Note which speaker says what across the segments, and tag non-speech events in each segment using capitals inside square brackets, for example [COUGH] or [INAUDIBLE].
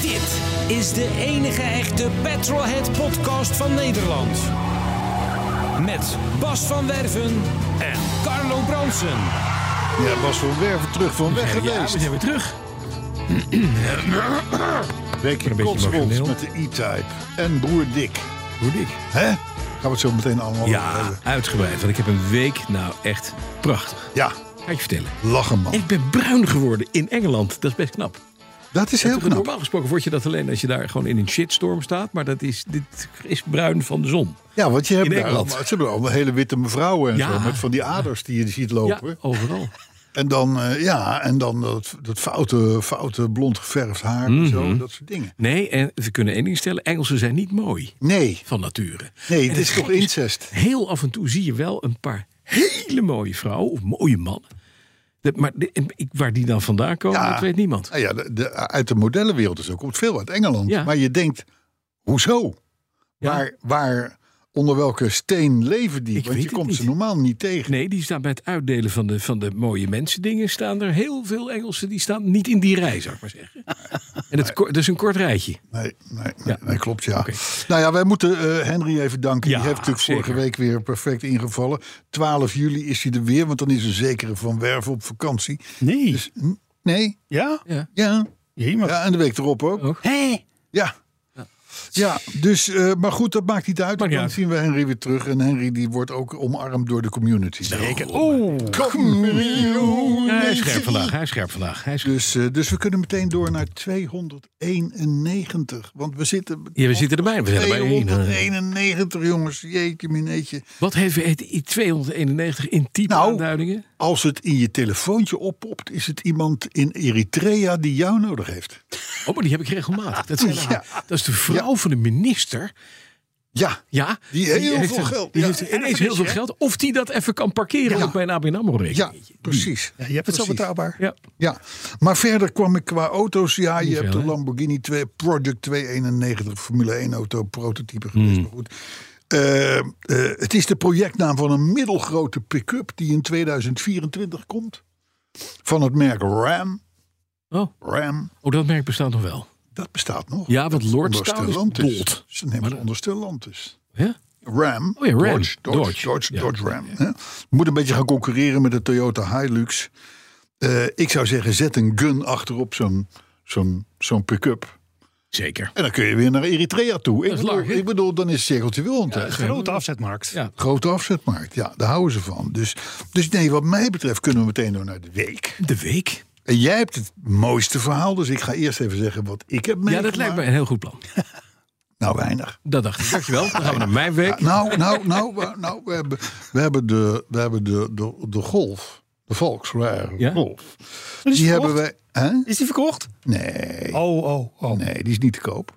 Speaker 1: Dit is de enige echte Petrolhead podcast van Nederland. Met Bas van Werven en Carlo Bronsen.
Speaker 2: Ja, Bas van Werven terug van weg geweest.
Speaker 3: we zijn weer terug.
Speaker 2: Week in
Speaker 3: een beetje
Speaker 2: Cotswolds
Speaker 3: emotioneel.
Speaker 2: met de E-Type. En broer Dick.
Speaker 3: Hoe dik?
Speaker 2: Hè? Gaan we het zo meteen allemaal over
Speaker 3: Ja,
Speaker 2: hebben.
Speaker 3: uitgebreid. Want ik heb een week, nou echt prachtig.
Speaker 2: Ja,
Speaker 3: Ga ik je vertellen.
Speaker 2: lachen
Speaker 3: En
Speaker 2: man.
Speaker 3: ik ben bruin geworden in Engeland. Dat is best knap.
Speaker 2: Dat is heel knap.
Speaker 3: Normaal gesproken word je dat alleen als je daar gewoon in een shitstorm staat. Maar dat is, dit is bruin van de zon.
Speaker 2: Ja, want je hebt
Speaker 3: In
Speaker 2: daar
Speaker 3: Engeland.
Speaker 2: allemaal, ze hebben allemaal hele witte mevrouwen en
Speaker 3: Ja.
Speaker 2: zo. Met van die aders die je ziet
Speaker 3: Ja,
Speaker 2: lopen.
Speaker 3: overal.
Speaker 2: En dan, eh, ja, en dan dat, dat foute, foute blond geverfd haar en zo.
Speaker 3: Mhm.
Speaker 2: Dat soort dingen.
Speaker 3: Nee, en we kunnen één ding stellen. Engelsen zijn niet mooi
Speaker 2: Nee,
Speaker 3: van nature.
Speaker 2: nee,
Speaker 3: En
Speaker 2: dit
Speaker 3: het
Speaker 2: is toch
Speaker 3: gekke
Speaker 2: incest.
Speaker 3: heel af en toe zie je wel een paar hele mooie vrouwen of mooie mannen. Dat- Maar de- en ik- waar die dan vandaan komen,
Speaker 2: Ja.
Speaker 3: dat weet niemand.
Speaker 2: Nou ja, de, de- uit de modellenwereld is ook komt veel uit Engeland.
Speaker 3: Ja.
Speaker 2: Maar je denkt, hoezo?
Speaker 3: Ja.
Speaker 2: Waar, waar, onder welke steen leven die?
Speaker 3: Ik
Speaker 2: Want
Speaker 3: weet
Speaker 2: je
Speaker 3: het
Speaker 2: komt ze
Speaker 3: niet.
Speaker 2: normaal niet tegen.
Speaker 3: Nee, die staan bij het uitdelen van de, van de mooie mensen dingen. Staan er heel veel Engelsen die staan niet in die rij, zou ik maar
Speaker 2: [LAUGHS]
Speaker 3: zeggen. En het, ko- dat is een kort rijtje.
Speaker 2: Nee, nee, nee,
Speaker 3: Ja.
Speaker 2: nee, klopt ja.
Speaker 3: Oké.
Speaker 2: Nou ja, wij moeten eh, Henry even danken.
Speaker 3: Ja,
Speaker 2: die heeft natuurlijk vorige
Speaker 3: zeker.
Speaker 2: week weer perfect ingevallen. 12 juli is hij er weer, want dan is een zekere Van Werven op vakantie.
Speaker 4: Nee.
Speaker 2: Dus, hm, nee,
Speaker 4: ja?
Speaker 3: Ja.
Speaker 2: ja.
Speaker 4: Jemig.
Speaker 2: ja, en de week erop ook.
Speaker 3: Ook.
Speaker 4: Hé?
Speaker 2: Ja. Ja, dus, eh, maar goed, dat maakt niet uit.
Speaker 3: Maakt niet
Speaker 2: dan
Speaker 3: uit.
Speaker 2: zien we Henry weer terug. En Henry die wordt ook omarmd door de community. Zeker.
Speaker 3: Oeh.
Speaker 2: Community.
Speaker 3: Hij is scherp vandaag, hij is scherp vandaag. Hij is scherp.
Speaker 2: Dus, eh, dus we kunnen meteen door naar 291. Want we zitten
Speaker 3: Ja, we zitten erbij. We zijn erbij. één.
Speaker 2: 291, jongens. Jeetje, mineetje.
Speaker 3: Wat heeft het i- 291 in type
Speaker 2: Nou.
Speaker 3: aanduidingen?
Speaker 2: Als het in je telefoontje oppopt, is het iemand in Eritrea die jou nodig heeft.
Speaker 3: Oh, maar die heb ik regelmatig. Dat, zijn haar-
Speaker 2: Ja.
Speaker 3: dat is de vrouw van de minister.
Speaker 2: Ja,
Speaker 3: Ja,
Speaker 2: Die heel
Speaker 3: heeft
Speaker 2: veel
Speaker 3: een-
Speaker 2: geld.
Speaker 3: Die
Speaker 2: Ja.
Speaker 3: heeft ineens
Speaker 4: Erfenis,
Speaker 3: heel veel
Speaker 4: hè?
Speaker 3: geld. Of die dat even kan parkeren
Speaker 2: Ja.
Speaker 3: op mijn ABN AMRO
Speaker 2: ja
Speaker 3: rekening.
Speaker 2: precies.
Speaker 4: Ja, je hebt het zo
Speaker 2: Precies.
Speaker 4: betrouwbaar.
Speaker 3: Ja.
Speaker 2: Ja, maar verder kwam ik qua auto's. Ja, je
Speaker 3: Niet
Speaker 2: hebt
Speaker 3: veel,
Speaker 2: de
Speaker 3: hè?
Speaker 2: Lamborghini 2 Project 291 Formule 1 auto
Speaker 3: Mm.
Speaker 2: prototype geweest. Maar goed. Eh, eh, het is de projectnaam van een middelgrote pick-up die in 2024 komt. Van het merk Ram.
Speaker 3: Oh,
Speaker 2: Ram,
Speaker 3: oh, dat merk bestaat nog wel.
Speaker 2: dat bestaat nog.
Speaker 3: Ja, want Lord
Speaker 2: Onder
Speaker 3: Staal is
Speaker 2: Stellantis.
Speaker 3: dood.
Speaker 2: Ze nemen
Speaker 3: Maar
Speaker 2: het
Speaker 3: dat-
Speaker 2: onder Stellantis.
Speaker 3: Ja?
Speaker 2: Ram.
Speaker 3: Oh ja, Ram.
Speaker 2: Dodge, Dodge, Dodge,
Speaker 3: Dodge. Ja.
Speaker 2: Dodge Ram. hè. Moet een beetje gaan concurreren met de Toyota Hilux. Eh, ik zou zeggen, zet een gun achterop zo'n zo'n zo'n pick-up.
Speaker 3: Zeker.
Speaker 2: En dan kun je weer naar Eritrea toe. Ik,
Speaker 3: is
Speaker 2: bedoel,
Speaker 3: lang, hè?
Speaker 2: ik bedoel, dan is het cirkeltje weer rond. hè.
Speaker 4: Grote afzetmarkt.
Speaker 3: Ja.
Speaker 2: Grote afzetmarkt, ja, daar houden ze van. Dus, dus nee, wat mij betreft kunnen we meteen door naar de week.
Speaker 3: De week.
Speaker 2: En jij hebt het mooiste verhaal, dus ik ga eerst even zeggen wat ik heb meegemaakt.
Speaker 3: Ja, dat lijkt me een heel goed plan.
Speaker 2: Nou, weinig.
Speaker 3: Dat dacht ik. Dankjewel. Dan gaan we naar mijn week.
Speaker 2: Ja, nou, nou, nou, we- nou we, hebben, we hebben, de, we hebben de, de, de golf. De Volkswagen
Speaker 3: Ja?
Speaker 2: Golf.
Speaker 4: is
Speaker 2: Die hebben
Speaker 4: verkocht?
Speaker 2: wij. Hè?
Speaker 4: Is die verkocht?
Speaker 2: Nee,
Speaker 4: Oh, oh, oh.
Speaker 2: nee, die is niet te koop.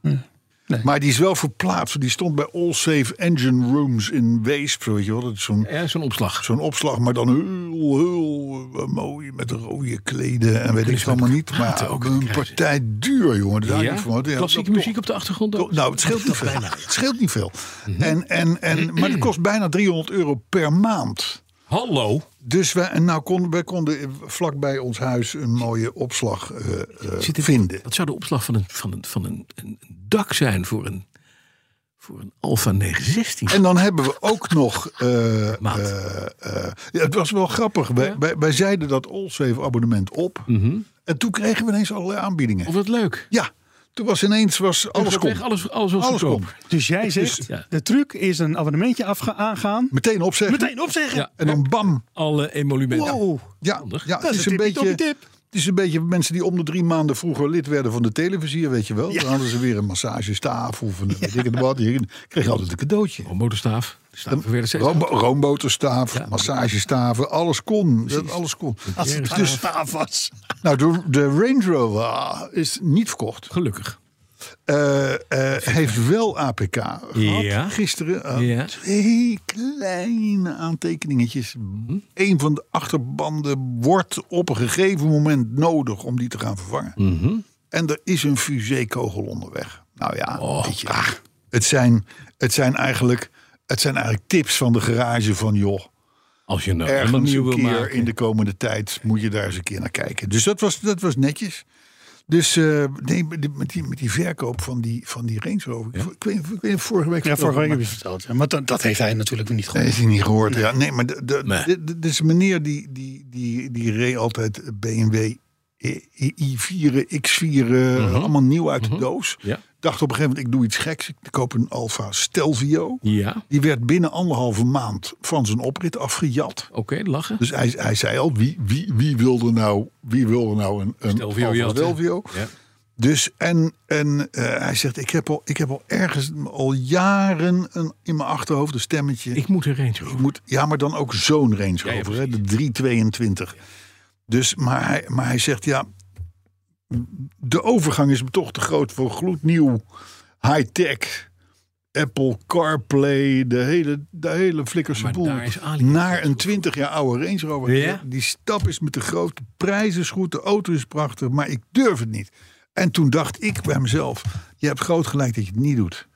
Speaker 2: Maar die is wel verplaatst. Die stond bij All Safe Engine Rooms in Weesp. Weet je wel, dat is zo'n
Speaker 3: Ja, zo'n opslag.
Speaker 2: zo'n opslag, maar dan heel, heel eh, mooi met rode kleden en weet ik
Speaker 3: kunnen
Speaker 2: het
Speaker 3: ze
Speaker 2: allemaal
Speaker 3: met
Speaker 2: niet. Maar
Speaker 3: praten ook, dat
Speaker 2: een
Speaker 3: krijgen ze.
Speaker 2: partij duur, jongen. Daar
Speaker 3: Ja?
Speaker 2: niet van. Ja,
Speaker 3: Klassieke
Speaker 2: dat-
Speaker 3: muziek op de achtergrond ook.
Speaker 2: nou, het scheelt
Speaker 3: [LAUGHS]
Speaker 2: niet veel. Het scheelt niet veel.
Speaker 3: Mhm.
Speaker 2: En, en,
Speaker 3: [CLEARS THROAT]
Speaker 2: en, maar het kost bijna 300 euro per maand.
Speaker 3: Hallo.
Speaker 2: Dus wij, en nou konden, wij konden vlakbij ons huis een mooie opslag eh, eh,
Speaker 3: Zit er-
Speaker 2: vinden.
Speaker 3: Dat zou de opslag van een, van een, van een, een dak zijn voor een, voor een Alfa 916.
Speaker 2: En dan hebben we ook nog. eh,
Speaker 3: Maand.
Speaker 2: eh, eh, ja, het was wel grappig. Wij, wij, wij zeiden dat Allsave abonnement op.
Speaker 3: Mhm.
Speaker 2: En toen kregen we ineens allerlei aanbiedingen.
Speaker 3: Of Oh, wat leuk.
Speaker 2: Ja, toen was ineens was alles
Speaker 3: Weg,
Speaker 2: kom.
Speaker 3: alles, alles was
Speaker 2: Alles
Speaker 3: goedkoop.
Speaker 2: kon.
Speaker 4: Dus jij zegt,
Speaker 3: Ja.
Speaker 4: de truc is een abonnementje afga- aangaan.
Speaker 2: Meteen opzeggen.
Speaker 4: Meteen opzeggen.
Speaker 3: Ja.
Speaker 2: En dan bam.
Speaker 3: Alle emolumenten.
Speaker 4: Wow.
Speaker 2: Ja,
Speaker 3: Handig.
Speaker 2: ja
Speaker 4: Dat
Speaker 2: het
Speaker 4: is
Speaker 2: is
Speaker 4: een
Speaker 2: een
Speaker 4: tippie-toppie
Speaker 2: beetje.
Speaker 4: tip.
Speaker 2: Het is een beetje mensen die om de drie maanden vroeger lid werden van de televisier, weet je wel. Dan hadden ze weer een massagestaaf of een weet ik het wat. Je kreeg altijd een cadeautje.
Speaker 3: Oh, motorstaaf. De staven werden steeds...
Speaker 2: Roombo- roomboterstaaf, massagestaven, alles kon. Dat, alles kon.
Speaker 4: Als het dus staaf was.
Speaker 2: Nou, de, de Range Rover ah, is niet verkocht.
Speaker 3: Gelukkig.
Speaker 2: Eh, eh, heeft wel APK gehad.
Speaker 3: Ja.
Speaker 2: Gisteren eh,
Speaker 3: Ja.
Speaker 2: twee kleine aantekeningetjes.
Speaker 3: Mhm.
Speaker 2: Eén van de achterbanden wordt op een gegeven moment nodig om die te gaan vervangen.
Speaker 3: Mhm.
Speaker 2: En er is een fusékogel onderweg. Nou ja,
Speaker 3: Oh,
Speaker 2: weet je, ah, het, zijn, het, zijn eigenlijk, het zijn eigenlijk tips van de garage van joh
Speaker 3: Als je nou helemaal
Speaker 2: ergens
Speaker 3: nieuw wil
Speaker 2: een keer
Speaker 3: maken.
Speaker 2: in de komende tijd moet je daar eens een keer naar kijken. Dus dat was, dat was netjes. Dus eh, nee, met die, met die- met die verkoop van die, van die Range Rover. Ik, weet, ik weet niet, vorige week.
Speaker 4: Ja, vorige week heb je
Speaker 2: maar-
Speaker 4: het verteld. ja. Maar dat, dat heeft hij natuurlijk niet
Speaker 2: Nee,
Speaker 4: gehoord.
Speaker 2: is hij niet gehoord. Ja, nee, maar de, de,
Speaker 3: Nee.
Speaker 2: de- de- dit is een meneer die, die, die, die reed altijd BMW I- eh, I- i4, X4, eh, allemaal nieuw uit de doos.
Speaker 3: Mhm. Ja.
Speaker 2: Dacht op een gegeven moment, ik doe iets geks. Ik koop een Alfa Stelvio.
Speaker 3: Ja,
Speaker 2: Die werd binnen anderhalve maand van zijn oprit afgejat.
Speaker 3: oké, lachen.
Speaker 2: Dus hij, hij zei al, wie, wie, wie wilde nou, wie wilde nou een, een
Speaker 3: Stelvio
Speaker 2: Alfa
Speaker 3: jatten.
Speaker 2: Stelvio?
Speaker 3: Ja.
Speaker 2: Dus en, en eh, hij zegt, ik heb, al, ik heb al ergens al jaren een, in mijn achterhoofd een stemmetje.
Speaker 3: Ik moet een Range Rover.
Speaker 2: Ik moet, ja, maar dan ook zo'n Range
Speaker 3: ja,
Speaker 2: Rover, hè, de 322. Dus, maar hij, maar hij zegt, ja, de overgang is me toch te groot voor gloednieuw high-tech. Apple CarPlay, de hele, de hele flikkerse
Speaker 3: Maar
Speaker 2: boel.
Speaker 3: daar is AliExpress
Speaker 2: Naar een 20 jaar oude Range Rover.
Speaker 3: Ja?
Speaker 2: Die stap is me te groot. De prijs is goed, de auto is prachtig, maar ik durf het niet. En toen dacht ik bij mezelf, je hebt groot gelijk dat je het niet doet.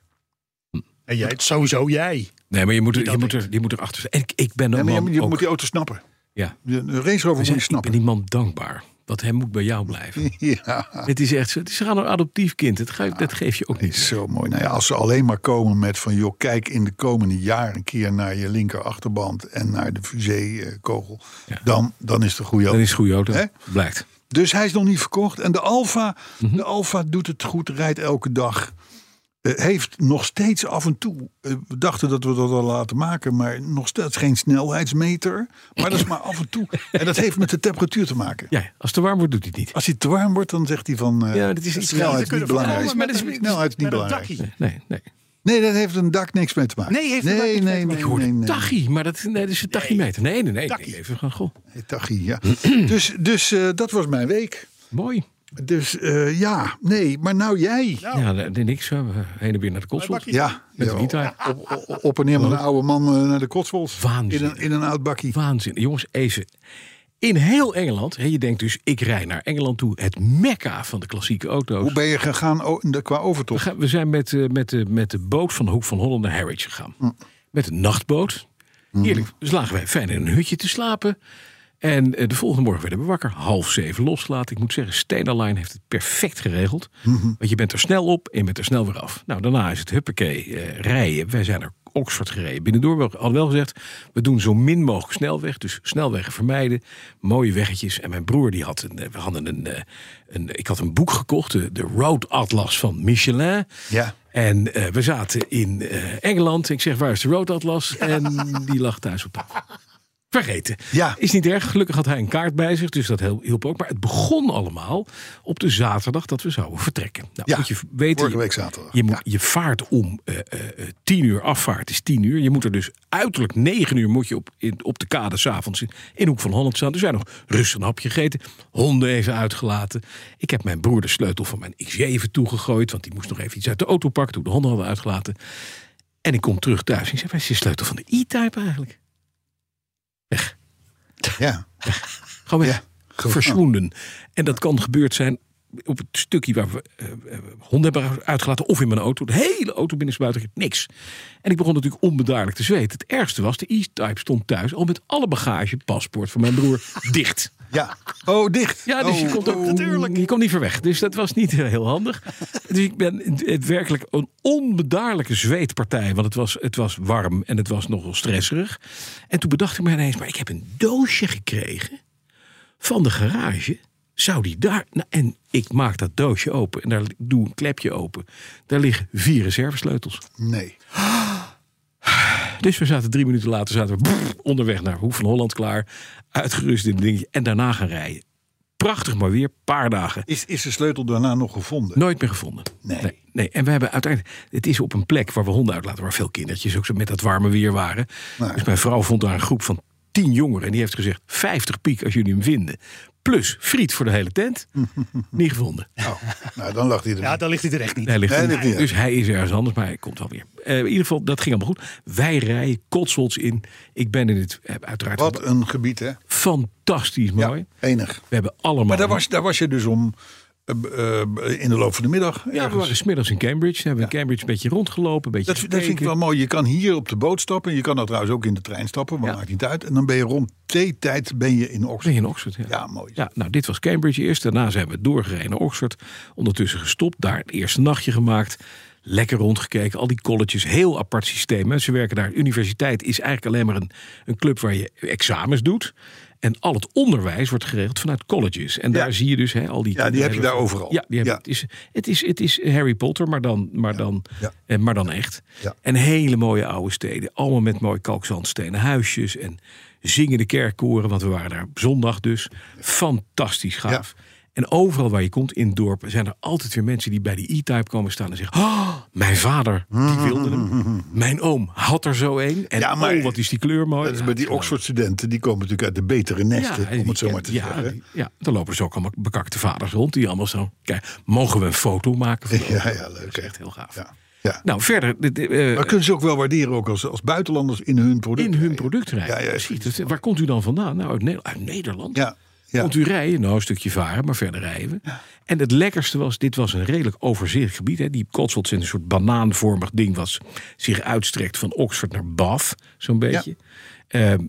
Speaker 4: En jij, sowieso jij.
Speaker 3: Nee, maar je moet, er, je
Speaker 4: dat
Speaker 3: moet, er, je moet erachter staan. En ik, ik ben
Speaker 2: Ja,
Speaker 3: een
Speaker 2: maar je,
Speaker 3: man
Speaker 2: je
Speaker 3: ook-
Speaker 2: moet die auto snappen.
Speaker 3: ja.
Speaker 2: De de Range Rover moet je
Speaker 3: ik ben
Speaker 2: snappen.
Speaker 3: die man dankbaar. Want hij moet bij jou blijven.
Speaker 2: [LAUGHS] Ja.
Speaker 3: Het is echt zo. Het is gewoon een adoptief kind. Dat, ga- dat geef je ook niet. weg.
Speaker 2: Zo mooi. Nou ja, als ze alleen maar komen met van joh, kijk in de komende jaar een keer naar je linker achterband en naar de fusé-kogel, dan, dan is de goede
Speaker 3: Dan
Speaker 2: auto.
Speaker 3: is het goede auto.
Speaker 2: Hè?
Speaker 3: Blijkt.
Speaker 2: Dus hij is nog niet verkocht. En de Alfa,
Speaker 3: Mhm.
Speaker 2: de Alfa doet het goed, rijdt elke dag. Eh, heeft nog steeds af en toe, eh, we dachten dat we dat al laten maken, maar nog steeds geen snelheidsmeter. Maar dat is maar af en
Speaker 3: [LAUGHS]
Speaker 2: toe. En dat heeft met de temperatuur te maken.
Speaker 3: Ja, als het te warm wordt, doet hij het niet.
Speaker 2: Als hij te warm wordt, dan zegt hij van eh,
Speaker 3: Ja, dat is iets-
Speaker 2: snelheid is niet belangrijk.
Speaker 4: voorkomen met een-
Speaker 2: Snelheid is niet
Speaker 4: met een
Speaker 2: belangrijk.
Speaker 4: dakkie.
Speaker 3: Nee, nee.
Speaker 2: Nee, dat heeft een dak niks mee te maken.
Speaker 4: Nee, heeft een
Speaker 2: nee,
Speaker 4: dak niks
Speaker 2: nee,
Speaker 4: mee te
Speaker 2: nee,
Speaker 4: maken.
Speaker 2: nee, nee, nee.
Speaker 3: Tachy, maar dat, nee, dat is een tachymeter. Nee, nee, nee. nee. Even gaan, goh.
Speaker 2: Nee, Tachy, ja. [CLEARS THROAT] dus dus eh, dat was mijn week.
Speaker 3: Mooi.
Speaker 2: Dus eh, ja, nee, maar nou jij. Ja,
Speaker 3: Ja, nee, niks. eh, Heen en weer naar de consult. Met
Speaker 2: ja,
Speaker 3: de gitaar.
Speaker 2: op, op- op en neer met een oude man eh, naar de Cotswolds.
Speaker 3: Waanzin.
Speaker 2: In een, in een oud bakkie.
Speaker 3: Waanzin. Jongens, even. In heel Engeland, hè, je denkt dus, ik rij naar Engeland toe. Het mekka van de klassieke auto's.
Speaker 2: Hoe ben je gegaan o- in de- qua
Speaker 3: We,
Speaker 2: overtocht?
Speaker 3: gaan- we zijn met, eh, met, de, met de boot van de Hoek van Holland naar Harwich gegaan. Met een nachtboot. Heerlijk. Dus lagen wij fijn in een hutje te slapen. En eh, de volgende morgen werden we wakker. Half zeven loslaten. Ik moet zeggen, Stena Line heeft het perfect geregeld. Want je bent er snel op en je bent er snel weer af. Nou, daarna is het huppakee eh, rijden. Wij zijn naar Oxford gereden. Binnendoor wel- al wel gezegd, we doen zo min mogelijk snelweg. Dus snelwegen vermijden. Mooie weggetjes. En mijn broer, die had een, eh, we hadden een, eh, een, ik had een boek gekocht. De, de Road Atlas van Michelin.
Speaker 2: Ja.
Speaker 3: En eh, we zaten in eh, Engeland. Ik zeg, waar is de Road Atlas? En die lag thuis op tafel. Vergeten.
Speaker 2: Ja.
Speaker 3: Is niet erg. Gelukkig had hij een kaart bij zich, dus dat hel- hielp ook. Maar het begon allemaal op de zaterdag dat we zouden vertrekken. Nou,
Speaker 2: Ja,
Speaker 3: moet je weten,
Speaker 2: vorige
Speaker 3: je-
Speaker 2: week zaterdag.
Speaker 3: Je, moet,
Speaker 2: Ja.
Speaker 3: je vaart om eh, eh, eh, tien uur, afvaart is tien uur. Je moet er dus uiterlijk negen uur moet je op, in, op de kade s'avonds in, in Hoek van Holland staan. Dus wij nog rustig een hapje gegeten, honden even uitgelaten. Ik heb mijn broer de sleutel van mijn X7 toegegooid, want die moest nog even iets uit de auto pakken toen we de honden hadden uitgelaten. En ik kom terug thuis en ik zeg, waar is de sleutel van de E-Type eigenlijk? Weg.
Speaker 2: Ja.
Speaker 3: Gewoon weg.
Speaker 2: Ja, gewoon.
Speaker 3: Verswoenden. En dat kan gebeurd zijn op het stukje waar we eh, eh, honden hebben uitgelaten. Of in mijn auto. De hele auto binnensbuiten. Niks. En ik begon natuurlijk onbedaarlijk te zweten. Het ergste was, de E-Type stond thuis al met alle bagage, paspoort van mijn broer, [LAUGHS] dicht.
Speaker 2: ja. Oh, dicht.
Speaker 3: Ja, dus je
Speaker 2: Oh,
Speaker 3: komt ook
Speaker 2: oh.
Speaker 3: natuurlijk. Je komt niet ver weg. Dus dat was niet eh, heel handig. Dus ik ben het werkelijk een onbedaarlijke zweetpartij. Want het was, het was warm en het was nogal stresserig. En toen bedacht ik me ineens, maar ik heb een doosje gekregen van de garage. Zou die daar. Nou, en ik maak dat doosje open en daar li- doe een klepje open. Daar liggen vier reservesleutels.
Speaker 2: Nee.
Speaker 3: Dus we zaten drie minuten later zaten we brrr, onderweg naar Hoek van Holland klaar. Uitgerust in het dingetje en daarna gaan rijden. prachtig mooi weer, paar dagen.
Speaker 2: Is, is de sleutel daarna nog gevonden?
Speaker 3: Nooit meer gevonden.
Speaker 2: Nee.
Speaker 3: nee. nee. En we hebben uiteindelijk. Het is op een plek waar we honden uitlaten. Waar veel kindertjes ook zo met dat warme weer waren.
Speaker 2: Nou ja.
Speaker 3: Dus mijn vrouw vond daar een groep van tien jongeren. En die heeft gezegd: 50 piek als jullie hem vinden. Plus friet voor de hele
Speaker 2: [LAUGHS]
Speaker 3: tent. niet gevonden.
Speaker 2: Nou, dan lag hij er.
Speaker 4: Ja, daar ligt hij er echt niet.
Speaker 3: Hij ligt
Speaker 2: Nee,
Speaker 3: er
Speaker 2: ligt
Speaker 3: niet.
Speaker 2: niet.
Speaker 3: Dus hij is ergens anders, maar hij komt wel weer. Eh, in ieder geval, dat ging allemaal goed. Wij rijden Cotswolds in. Ik ben in het. eh, Uiteraard
Speaker 2: Wat een gebied, hè?
Speaker 3: fantastisch mooi.
Speaker 2: enig.
Speaker 3: We hebben allemaal.
Speaker 2: Maar daar was, daar was je dus om eh, eh, in de loop van de middag.
Speaker 3: ja,
Speaker 2: ergens.
Speaker 3: we waren smiddags in Cambridge. Hebben we in Cambridge een beetje rondgelopen. Een beetje
Speaker 2: Dat, dat vind ik
Speaker 3: gekeken.
Speaker 2: wel mooi. Je kan hier op de boot stappen. Je kan nou trouwens ook in de trein stappen, maar
Speaker 3: Ja.
Speaker 2: maakt niet uit. En dan ben je rond theetijd ben je in
Speaker 3: Ben
Speaker 2: Oxford.
Speaker 3: je in Oxford? Ja.
Speaker 2: Ja, mooi.
Speaker 3: Ja, nou, dit was Cambridge eerst. Daarna zijn we doorgereden naar Oxford. Ondertussen gestopt, daar het eerste nachtje gemaakt. Lekker rondgekeken, al die colleges, heel apart systeem. hè. Ze werken daar. Universiteit is eigenlijk alleen maar een, een club waar je examens doet. En al het onderwijs wordt geregeld vanuit colleges. En daar
Speaker 2: Ja.
Speaker 3: zie je dus hè, al die.
Speaker 2: Ja, die heb je daar overal.
Speaker 3: Ja, die heb,
Speaker 2: Ja.
Speaker 3: Het, is, het, is, het is Harry Potter, maar dan, maar dan,
Speaker 2: Ja.
Speaker 3: eh, maar dan echt.
Speaker 2: Ja.
Speaker 3: En hele mooie oude steden. Allemaal met mooie kalkzandstenen huisjes. En zingende kerkkoren, want we waren daar op zondag dus. Fantastisch gaaf. En overal waar je komt in dorpen zijn er altijd weer mensen die bij die E-Type komen staan en zeggen: oh, Mijn vader, die
Speaker 2: [LAUGHS]
Speaker 3: wilde hem. Mijn oom had er zo een. En
Speaker 2: Ja, maar
Speaker 3: oh, wat is die kleur mooi.
Speaker 2: Dat is
Speaker 3: Ja,
Speaker 2: bij die
Speaker 3: geweldig.
Speaker 2: Oxford-studenten, die komen natuurlijk uit de betere nesten,
Speaker 3: en
Speaker 2: om
Speaker 3: die
Speaker 2: het zo maar te
Speaker 3: ken- ja,
Speaker 2: zeggen.
Speaker 3: die- Ja, dan lopen dus ook allemaal bekakte vaders rond. Die allemaal zo. Kijk, mogen we een foto maken?
Speaker 2: [LAUGHS]
Speaker 3: Van
Speaker 2: Ja,
Speaker 3: ons?"
Speaker 2: ja, leuk,
Speaker 3: Dat is
Speaker 2: hè?
Speaker 3: echt heel gaaf.
Speaker 2: Ja. Oh, Ja.
Speaker 3: Nou, verder. dit, eh,
Speaker 2: Maar kunnen ze ook wel waarderen, ook als, als buitenlanders in hun product.
Speaker 3: in hun product rijden.
Speaker 2: Ja, ja,
Speaker 3: Precies. dus- Dat- waar komt u dan vandaan? Nou, uit, Ne- uit Nederland.
Speaker 2: Ja, ja.
Speaker 3: Komt u rijden? Nou, een stukje varen, maar verder rijden we. En het lekkerste was, dit was een redelijk overzichtelijk gebied. Hè. Die Cotswolds zijn een soort banaanvormig ding... wat zich uitstrekt van Oxford naar Bath, zo'n beetje. Ehm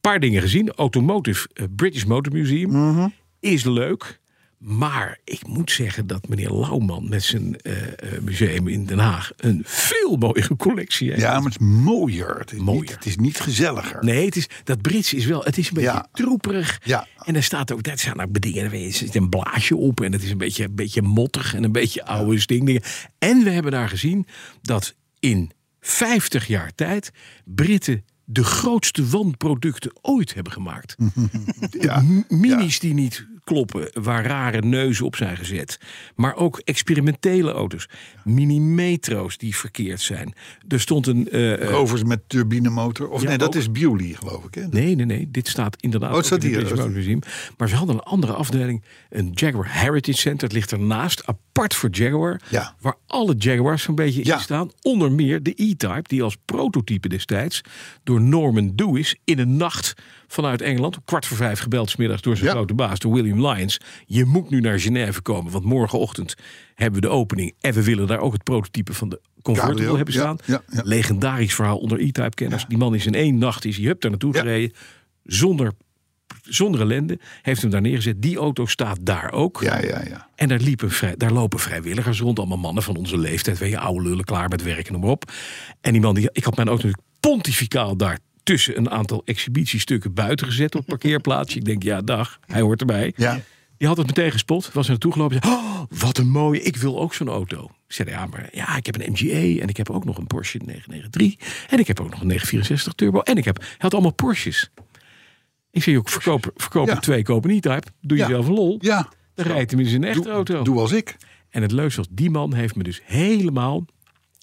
Speaker 3: paar dingen gezien. Automotive, eh, British Motor Museum,
Speaker 2: Mhm.
Speaker 3: is leuk. Maar ik moet zeggen dat meneer Lauwman met zijn eh, eh, museum in Den Haag... een veel mooiere collectie heeft.
Speaker 2: Ja, maar het is mooier. Het is, Niet,
Speaker 3: Mooier.
Speaker 2: het is niet gezelliger.
Speaker 3: Nee, het is, dat Brits is wel, het is een beetje
Speaker 2: Ja.
Speaker 3: troeperig.
Speaker 2: Ja.
Speaker 3: En daar staat ook, dat zijn nou ook bedingen, er zit een blaasje op en het is een beetje, een beetje mottig en een beetje oude stingdingen. En we hebben daar gezien dat in 50 jaar tijd Britten de grootste wanproducten ooit hebben gemaakt.
Speaker 2: Mhm. Ja.
Speaker 3: M- Minis die niet kloppen, waar rare neuzen op zijn gezet. Maar ook experimentele auto's. Mini-metro's die verkeerd zijn. Er stond een... eh, eh,
Speaker 2: Rovers met turbinemotor. Of
Speaker 3: Ja,
Speaker 2: nee, dat
Speaker 3: ook.
Speaker 2: is Bewley, geloof ik. Hè?
Speaker 3: Nee, nee, nee. Dit staat inderdaad
Speaker 2: Oh, het staat
Speaker 3: ook in het
Speaker 2: hier,
Speaker 3: British
Speaker 2: oh, het
Speaker 3: Museum. Maar ze hadden een andere afdeling. Een Jaguar Heritage Center. Het ligt ernaast, apart voor Jaguar.
Speaker 2: Ja.
Speaker 3: Waar alle Jaguars zo'n beetje
Speaker 2: Ja.
Speaker 3: in staan. Onder meer de E-Type, die als prototype destijds... door Norman Dewis in de nacht vanuit Engeland... om kwart voor vijf gebeld 's middags door zijn
Speaker 2: Ja.
Speaker 3: grote baas, door William Lyons. Je moet nu naar Genève komen, want morgenochtend hebben we de opening. En we willen daar ook het prototype van de convertible
Speaker 2: Cabrio,
Speaker 3: hebben
Speaker 2: ja,
Speaker 3: staan.
Speaker 2: ja, ja.
Speaker 3: Legendarisch verhaal onder E-Type kenners. Die man is in één nacht is hij hup daar naartoe
Speaker 2: Ja.
Speaker 3: gereden. Zonder, zonder ellende. Heeft hem daar neergezet. Die auto staat daar ook.
Speaker 2: Ja, ja, ja.
Speaker 3: En daar, liepen vrij, daar lopen vrijwilligers rond. Allemaal mannen van onze leeftijd. Weet je, oude lullen, klaar met werken, noem maar op. En die man, die, ik had mijn auto natuurlijk pontificaal daar tussen een aantal exhibitiestukken buiten gezet op het parkeerplaatsje. Ik denk, ja, dag, hij hoort erbij.
Speaker 2: Ja.
Speaker 3: Die had het meteen gespot, was er naartoe gelopen. Zei, oh, wat een mooie, ik wil ook zo'n auto. Ik zei, ja, maar ja, ik heb een MGA en ik heb ook nog een Porsche 993. En ik heb ook nog een 964 Turbo. En ik heb, hij had allemaal Porsches. Ik zei, joh, verkoop, verkoop er
Speaker 2: Ja.
Speaker 3: twee, kopen niet type. Doe
Speaker 2: Ja.
Speaker 3: jezelf een lol.
Speaker 2: Ja,
Speaker 3: Dan rijdt hij in zijn echte auto.
Speaker 2: doe als ik.
Speaker 3: En het leukste was, die man heeft me dus helemaal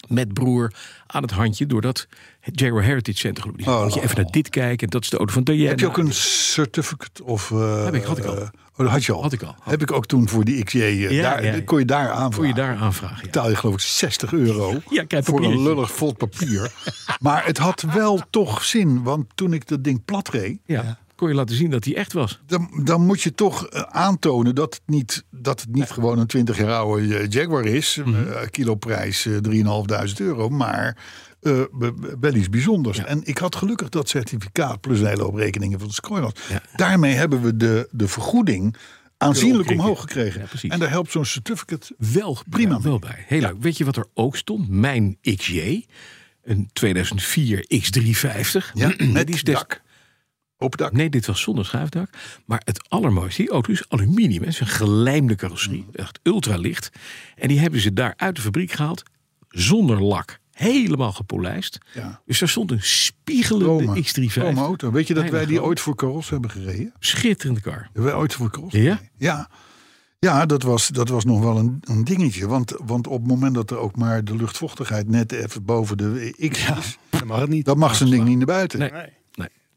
Speaker 3: met broer aan het handje door dat Jaguar Heritage Center geroepen. Die zei,
Speaker 2: Oh,
Speaker 3: moet je even naar dit kijken, dat is de auto van Diana.
Speaker 2: Heb je ook een certificate of... eh,
Speaker 3: eh, Heb ik, had ik al.
Speaker 2: eh, oh, dat had je al.
Speaker 3: Had ik al, had
Speaker 2: Heb ik ook toen voor die XJ. eh,
Speaker 3: Ja,
Speaker 2: daar,
Speaker 3: ja, ja.
Speaker 2: Kon je daar aanvragen.
Speaker 3: Moet je daar aanvragen. ja.
Speaker 2: betaal je geloof ik 60 euro
Speaker 3: [LAUGHS] Ja, kijk,
Speaker 2: voor een
Speaker 3: papiertje.
Speaker 2: lullig vol papier. maar het had wel toch zin, want toen ik dat ding plat reed,
Speaker 3: Ja. kon je laten zien dat hij echt was.
Speaker 2: dan, dan moet je toch eh, aantonen dat het niet, dat het niet gewoon een 20 jaar oude eh, Jaguar is. eh
Speaker 3: Mhm.
Speaker 2: kiloprijs eh, 3.500 euro, maar eh, be- be- wel iets bijzonders. En ik had gelukkig dat certificaat plus een hele hoop rekeningen van de Scroyland. Daarmee hebben we de, de vergoeding aanzienlijk
Speaker 3: Omgekregen.
Speaker 2: omhoog gekregen.
Speaker 3: Ja, precies.
Speaker 2: en daar helpt zo'n certificate
Speaker 3: Wel
Speaker 2: Prima
Speaker 3: prima. wel bij. Heel leuk. Weet je wat er ook stond? Mijn XJ. Een 2004 X350. [CLEARS THROAT]
Speaker 2: ja, met
Speaker 3: Die is
Speaker 2: die
Speaker 3: des-
Speaker 2: dak. Open dak.
Speaker 3: Nee, dit was zonder schuifdak. Maar het allermooiste, die auto is aluminium. hè. Het is een gelijmde
Speaker 2: Mm.
Speaker 3: carrosserie. Echt ultralicht. En die hebben ze daar uit de fabriek gehaald. Zonder lak. helemaal gepolijst.
Speaker 2: Ja.
Speaker 3: Dus daar stond een spiegelende
Speaker 2: Rome.
Speaker 3: X35.
Speaker 2: Rome auto. Weet je dat
Speaker 3: Bijna
Speaker 2: wij die
Speaker 3: groot.
Speaker 2: ooit voor Caros hebben gereden?
Speaker 3: Schitterende car.
Speaker 2: Hebben wij ooit voor Caros?
Speaker 3: Ja?
Speaker 2: Ja, ja dat, was, dat was nog wel een, een dingetje. Want, want op het moment dat er ook maar de luchtvochtigheid net even boven de X
Speaker 3: [LAUGHS]
Speaker 2: is,
Speaker 4: Dat mag het niet.
Speaker 2: dan mag zijn ding niet naar buiten.
Speaker 3: Nee.
Speaker 4: Nee.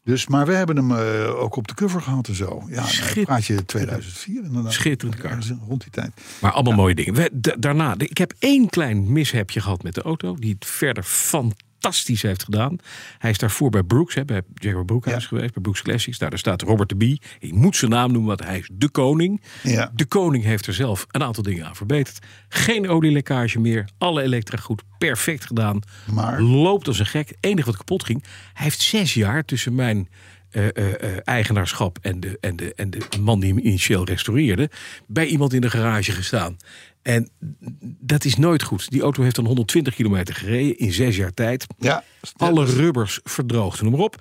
Speaker 2: Dus, maar we hebben hem eh, ook op de cover gehad en zo. Ja, nou, dan
Speaker 3: Schitterend.
Speaker 2: praat je 2004 inderdaad.
Speaker 3: Schitterende kaart.
Speaker 2: Ergens Rond die tijd.
Speaker 3: Maar allemaal mooie dingen. We- da- daarna, de- ik heb één klein mishapje gehad met de auto. Die het verder fantastisch heeft gedaan. Hij is daarvoor bij Brooks, hè, bij Jaguar Broekhuis
Speaker 2: Ja.
Speaker 3: geweest. Bij Brooks Classics. Nou, daar staat Robert de Bie. Ik moet zijn naam noemen, want hij is de koning.
Speaker 2: Ja.
Speaker 3: De koning heeft er zelf een aantal dingen aan verbeterd. Geen olielekkage meer. Alle elektra goed. Perfect gedaan.
Speaker 2: Maar-
Speaker 3: Loopt als een gek. Het enige wat kapot ging. Hij heeft zes jaar tussen mijn eh, eh, eh, eigenaarschap en de, en, de, en de man die hem initieel restaureerde. bij iemand in de garage gestaan. En dat is nooit goed. Die auto heeft dan 120 kilometer gereden in zes jaar tijd.
Speaker 2: Ja.
Speaker 3: Alle rubbers verdroogden, noem maar op.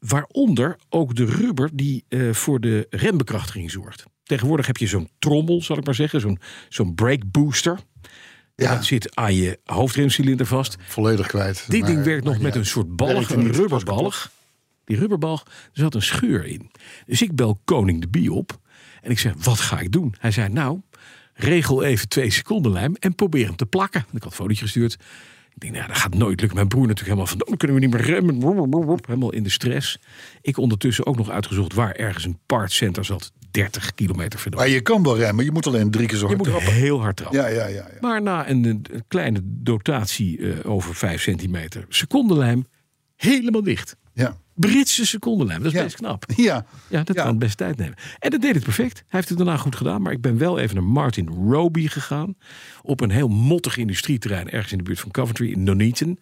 Speaker 3: Waaronder ook de rubber die eh, voor de rembekrachtiging zorgt. Tegenwoordig heb je zo'n trommel, zal ik maar zeggen, zo'n zo'n brake booster.
Speaker 2: Ja.
Speaker 3: Dat zit aan je hoofdremcilinder vast.
Speaker 2: Volledig kwijt.
Speaker 3: Dit
Speaker 2: Maar-
Speaker 3: ding werkt nog
Speaker 2: maar
Speaker 3: met
Speaker 2: ja.
Speaker 3: een soort balg,
Speaker 2: Werkte
Speaker 3: een
Speaker 2: niet.
Speaker 3: rubberbalg. Die rubberbalg, er zat een scheur in. Dus ik bel Koning de Bie op en ik zeg, wat ga ik doen? Hij zei, nou, regel even twee seconden lijm en probeer hem te plakken. Ik had een fotootje gestuurd. Ik denk, nou, dat gaat nooit lukken. Mijn broer natuurlijk helemaal van, dan kunnen we niet meer remmen. Brrrr, Helemaal in de stress. Ik ondertussen ook nog uitgezocht waar ergens een partscenter zat. 30 kilometer verderop.
Speaker 2: Maar je kan wel remmen, je moet alleen drie keer zo
Speaker 3: Je
Speaker 2: hard
Speaker 3: moet
Speaker 2: trappen.
Speaker 3: heel hard trappen.
Speaker 2: Ja, ja, ja. ja.
Speaker 3: Maar na een, een kleine dotatie eh, over 5 centimeter, secondenlijm helemaal dicht.
Speaker 2: ja.
Speaker 3: Britse secondenlijm, dat is
Speaker 2: Ja.
Speaker 3: best knap.
Speaker 2: Ja.
Speaker 3: Ja, dat
Speaker 2: Ja.
Speaker 3: kan best tijd nemen. En dat deed het perfect. Hij heeft het daarna goed gedaan. Maar ik ben wel even naar Martin Roby gegaan. Op een heel mottig industrieterrein. Ergens in de buurt van Coventry, in Nuneaton.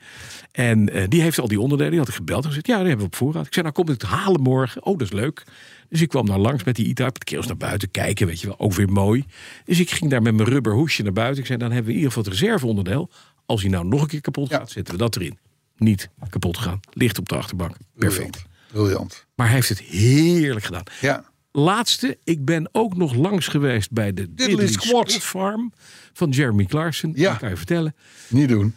Speaker 3: En eh, die heeft al die onderdelen. Die had ik gebeld en gezegd, ja, die hebben we op voorraad. Ik zei, nou kom ik het halen morgen. Oh, dat is leuk. Dus ik kwam daar langs met die E-Type. Het keels naar buiten kijken, weet je wel. Ook weer mooi. Dus ik ging daar met mijn rubber hoesje naar buiten. Ik zei, dan hebben we in ieder geval het reserveonderdeel. Als hij nou nog een keer kapot
Speaker 2: Ja.
Speaker 3: gaat, zetten we dat erin. Niet kapot gaan. Licht op de achterbank. Perfect.
Speaker 2: Briljant. Briljant.
Speaker 3: Maar hij heeft het heerlijk gedaan.
Speaker 2: Ja.
Speaker 3: Laatste, ik ben ook nog langs geweest bij de Diddley
Speaker 2: Squad.
Speaker 3: Squad Farm van Jeremy Clarkson.
Speaker 2: Ja.
Speaker 3: Dat kan je vertellen.
Speaker 2: Niet doen.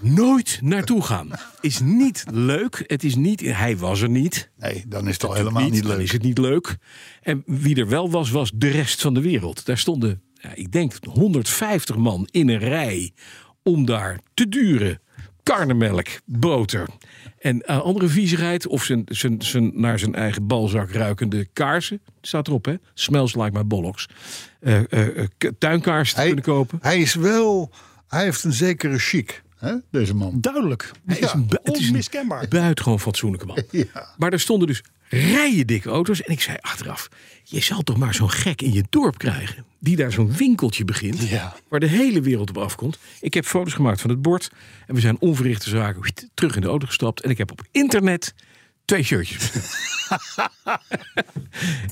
Speaker 3: Nooit naartoe gaan. Is niet leuk. Het is niet, hij was er niet.
Speaker 2: Nee, dan is het al helemaal niet,
Speaker 3: Dan is
Speaker 2: leuk.
Speaker 3: het niet leuk. En wie er wel was, was de rest van de wereld. Daar stonden, ja, ik denk, 150 man in een rij om daar te duren. Karnemelk, boter en eh, andere viezigheid. Of zijn, zijn, zijn, naar zijn eigen balzak ruikende kaarsen. Staat erop, hè? Smells like my bollocks. Eh, eh, eh, k- tuinkaarsen te
Speaker 2: Hij,
Speaker 3: kunnen kopen.
Speaker 2: hij is wel... Hij heeft een zekere chic, hè, deze man.
Speaker 4: Duidelijk.
Speaker 3: Hij is een bu- het is een
Speaker 4: Onmiskenbaar.
Speaker 3: buitengewoon fatsoenlijke man.
Speaker 2: Ja.
Speaker 3: Maar er stonden dus rijen dikke auto's. En ik zei achteraf, je zal toch maar zo'n gek in je dorp krijgen. Die daar zo'n winkeltje begint.
Speaker 4: Ja.
Speaker 3: Waar de hele wereld op afkomt. Ik heb foto's gemaakt van het bord. En we zijn onverrichte zaken wiet, terug in de auto gestapt. En ik heb op internet twee shirtjes [LAUGHS] besteld.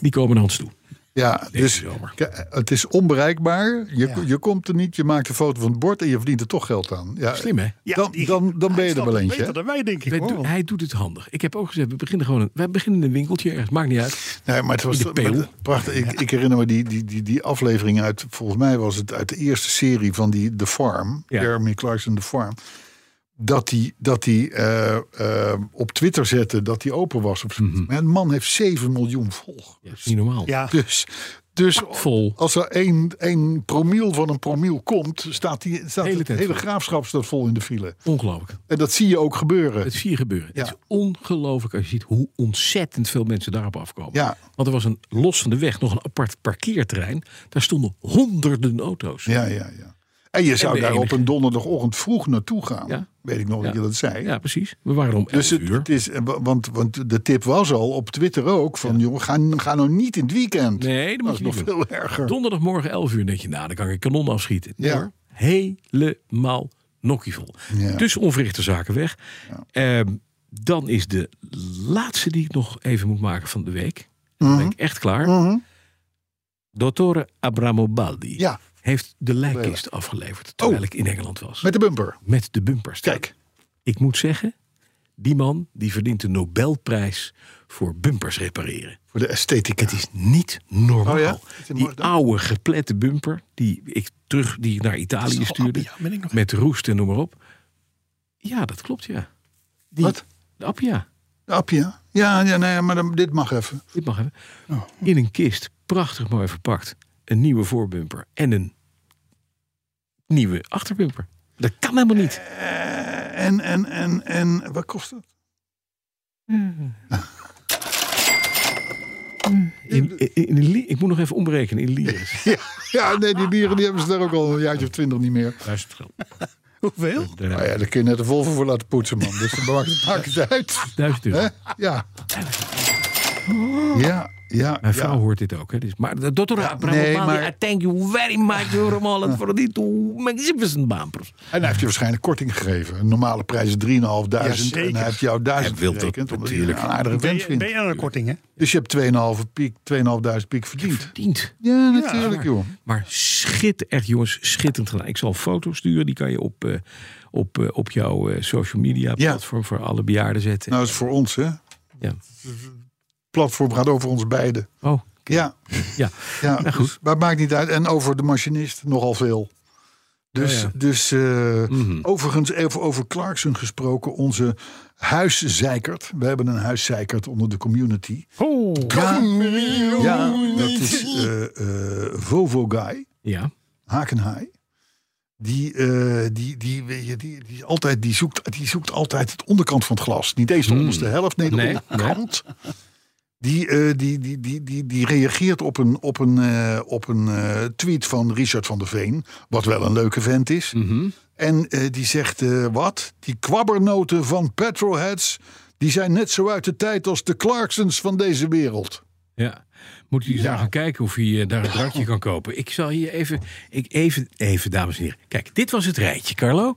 Speaker 3: Die komen naar ons toe.
Speaker 2: Ja, dus
Speaker 3: zomer.
Speaker 2: k- het is onbereikbaar. Je, je komt er niet, je maakt een foto van het bord en je verdient er toch geld aan. Ja,
Speaker 3: Slim, hè?
Speaker 4: Ja,
Speaker 2: dan,
Speaker 4: die-
Speaker 2: dan, dan ben je
Speaker 4: Hij
Speaker 2: er
Speaker 4: snapt
Speaker 2: wel
Speaker 4: het
Speaker 2: eentje. hè?
Speaker 4: Beter dan wij, denk ik.
Speaker 3: Wij
Speaker 4: hoor.
Speaker 3: doen- hij doet het handig. Ik heb ook gezegd, we beginnen gewoon. Een, wij beginnen in een winkeltje ergens. Maakt niet uit.
Speaker 2: Nee, maar het was
Speaker 3: In de peel.
Speaker 2: maar- prachtig. Ik, ik herinner me die, die, die, die aflevering uit, volgens mij was het uit de eerste serie van die The Farm,
Speaker 3: Ja.
Speaker 2: Jeremy Clarkson The Farm. Dat hij dat die, eh, eh, op Twitter zette dat hij open was. Of zo. Maar een man heeft 7 miljoen volgers.
Speaker 3: Mhm. Ja, dat is niet normaal.
Speaker 4: Ja,
Speaker 2: Dus, dus
Speaker 3: Vol.
Speaker 2: als er één, één promiel van een promiel komt, staat, die, staat
Speaker 3: Hele
Speaker 2: het
Speaker 3: tent
Speaker 2: hele
Speaker 3: vol.
Speaker 2: graafschap staat vol in de file.
Speaker 3: Ongelooflijk.
Speaker 2: En dat zie je ook gebeuren.
Speaker 3: Het zie je gebeuren.
Speaker 2: Ja.
Speaker 3: Het is ongelooflijk als je ziet hoe ontzettend veel mensen daarop afkomen.
Speaker 2: Ja.
Speaker 3: Want er was een los van de weg nog een apart parkeerterrein. Daar stonden honderden auto's.
Speaker 2: Ja, ja, ja. En je zou
Speaker 3: de
Speaker 2: daar op
Speaker 3: enige.
Speaker 2: een donderdagochtend vroeg naartoe gaan.
Speaker 3: Ja.
Speaker 2: Weet ik nog dat
Speaker 3: Ja.
Speaker 2: je dat zei.
Speaker 3: Ja, precies. We waren om 11
Speaker 2: Dus het,
Speaker 3: uur.
Speaker 2: het is, eh, wa- want, want de tip was al op Twitter ook van jongen, ga, ga nou niet in het weekend.
Speaker 3: nee,
Speaker 2: dat
Speaker 3: dat moet
Speaker 2: is
Speaker 3: je
Speaker 2: nog
Speaker 3: niet doen.
Speaker 2: veel erger.
Speaker 3: Donderdagmorgen 11 uur denk je, nou, dan kan ik een kanon afschieten. Nee,
Speaker 2: Ja.
Speaker 3: hoor. Helemaal nokkievol.
Speaker 2: Ja.
Speaker 3: Dus onverrichte zaken weg. Ehm, dan is de laatste die ik nog even moet maken van de week. Dan ben ik echt klaar.
Speaker 2: Mhm.
Speaker 3: Dottore Abramobaldi
Speaker 2: Ja,
Speaker 3: heeft de lijkkist afgeleverd terwijl ik in Engeland was.
Speaker 2: Oh. met de bumper.
Speaker 3: Met de bumpers.
Speaker 2: Kijk.
Speaker 3: Ik moet zeggen, die man die verdient de Nobelprijs voor bumpers repareren.
Speaker 2: Voor de esthetiek.
Speaker 3: Het is niet normaal.
Speaker 2: Oh ja? Is het
Speaker 3: Die
Speaker 2: mooi dan?
Speaker 3: oude geplette bumper die ik terug die ik naar Italië
Speaker 4: Oh,
Speaker 3: stuurde.
Speaker 4: ja, ben ik nog.
Speaker 3: Met roest en noem maar op. Ja, dat klopt, ja.
Speaker 4: Die-
Speaker 2: Wat?
Speaker 3: De Appia.
Speaker 2: De Appia? Ja, ja, nee, maar dan- dit mag even.
Speaker 3: Dit mag hebben.
Speaker 2: Oh.
Speaker 3: In een kist, prachtig mooi verpakt. Een nieuwe voorbumper en een nieuwe achterbumper. Dat kan helemaal niet.
Speaker 2: Eh, en, en, en, en, wat kost het? [LAUGHS]
Speaker 3: In, in, in een li- ik moet nog even omrekenen in lire.
Speaker 2: [LAUGHS] Ja, ja, nee, die dieren die hebben ze daar ook al een jaartje of twintig niet meer.
Speaker 3: Duizend geld.
Speaker 4: Hoeveel?
Speaker 2: Nou ja, daar kun je net de Volvo voor laten poetsen, man. Dus dan maakt, maakt het uit.
Speaker 3: Duizend euro.
Speaker 2: Hè? Ja. Ja, ja,
Speaker 3: Mijn vrouw
Speaker 2: ja.
Speaker 3: hoort dit ook. Hè? Dus, maar de dokter, ja,
Speaker 2: nee, maar-
Speaker 3: I thank you very much, Your Honor, for this magnificent bumper.
Speaker 2: En hij heeft je waarschijnlijk korting gegeven. Een normale prijs is 3.500
Speaker 4: Jazeker.
Speaker 2: en hij heeft jou 1000
Speaker 3: Hij wil dat
Speaker 2: gerekend. Omdat hij een
Speaker 3: natuurlijk.
Speaker 2: aardige
Speaker 4: Ben
Speaker 2: vent
Speaker 4: je,
Speaker 2: vindt.
Speaker 4: ben je aan een korting, hè?
Speaker 2: Dus je hebt 2,5 piek, 2.500 piek verdiend.
Speaker 3: Dient.
Speaker 2: Ja, natuurlijk,
Speaker 3: maar-
Speaker 2: joh.
Speaker 3: Maar schit, echt jongens, schitterend gedaan. Ik zal foto's sturen, die kan je op, eh, op, eh, op jouw eh, social media
Speaker 2: Ja.
Speaker 3: platform voor alle bejaarden zetten.
Speaker 2: Nou, dat is voor ons, hè?
Speaker 3: Ja.
Speaker 2: Platform gaat over ons beiden.
Speaker 3: Oh,
Speaker 2: Ja,
Speaker 3: ja.
Speaker 2: ja
Speaker 3: Nou, goed.
Speaker 2: dus- maar het maakt niet uit. En over de machinist nogal veel. Dus,
Speaker 3: Oh, Ja, Mhm. ja.
Speaker 2: dus eh, overigens, even over Clarkson gesproken, onze huiszeikert. We hebben een huiszeikert onder de community.
Speaker 3: Oh.
Speaker 2: Ja, ja, dat is eh eh, Vovo Guy,
Speaker 3: Ja,
Speaker 2: Hakenhaai. Die, eh, die, die, weet je, die, die, is altijd, die, zoekt, die zoekt altijd het onderkant van het glas. Niet eens de onderste helft, nee, de
Speaker 3: Hmm. Nee,
Speaker 2: onderkant. Die, eh, die, die, die, die, die reageert op een, op een, eh, op een eh, tweet van Richard van der Veen. Wat wel een leuke vent is.
Speaker 3: Mhm.
Speaker 2: En eh, die zegt, eh, wat? Die kwabbernoten van petrolheads... die zijn net zo uit de tijd als de Clarksons van deze wereld.
Speaker 3: ja. Moet u eens naar gaan kijken of u eh, daar een drankje kan kopen. Ik zal hier even, ik even, even, dames en heren. Kijk, dit was het rijtje, Carlo.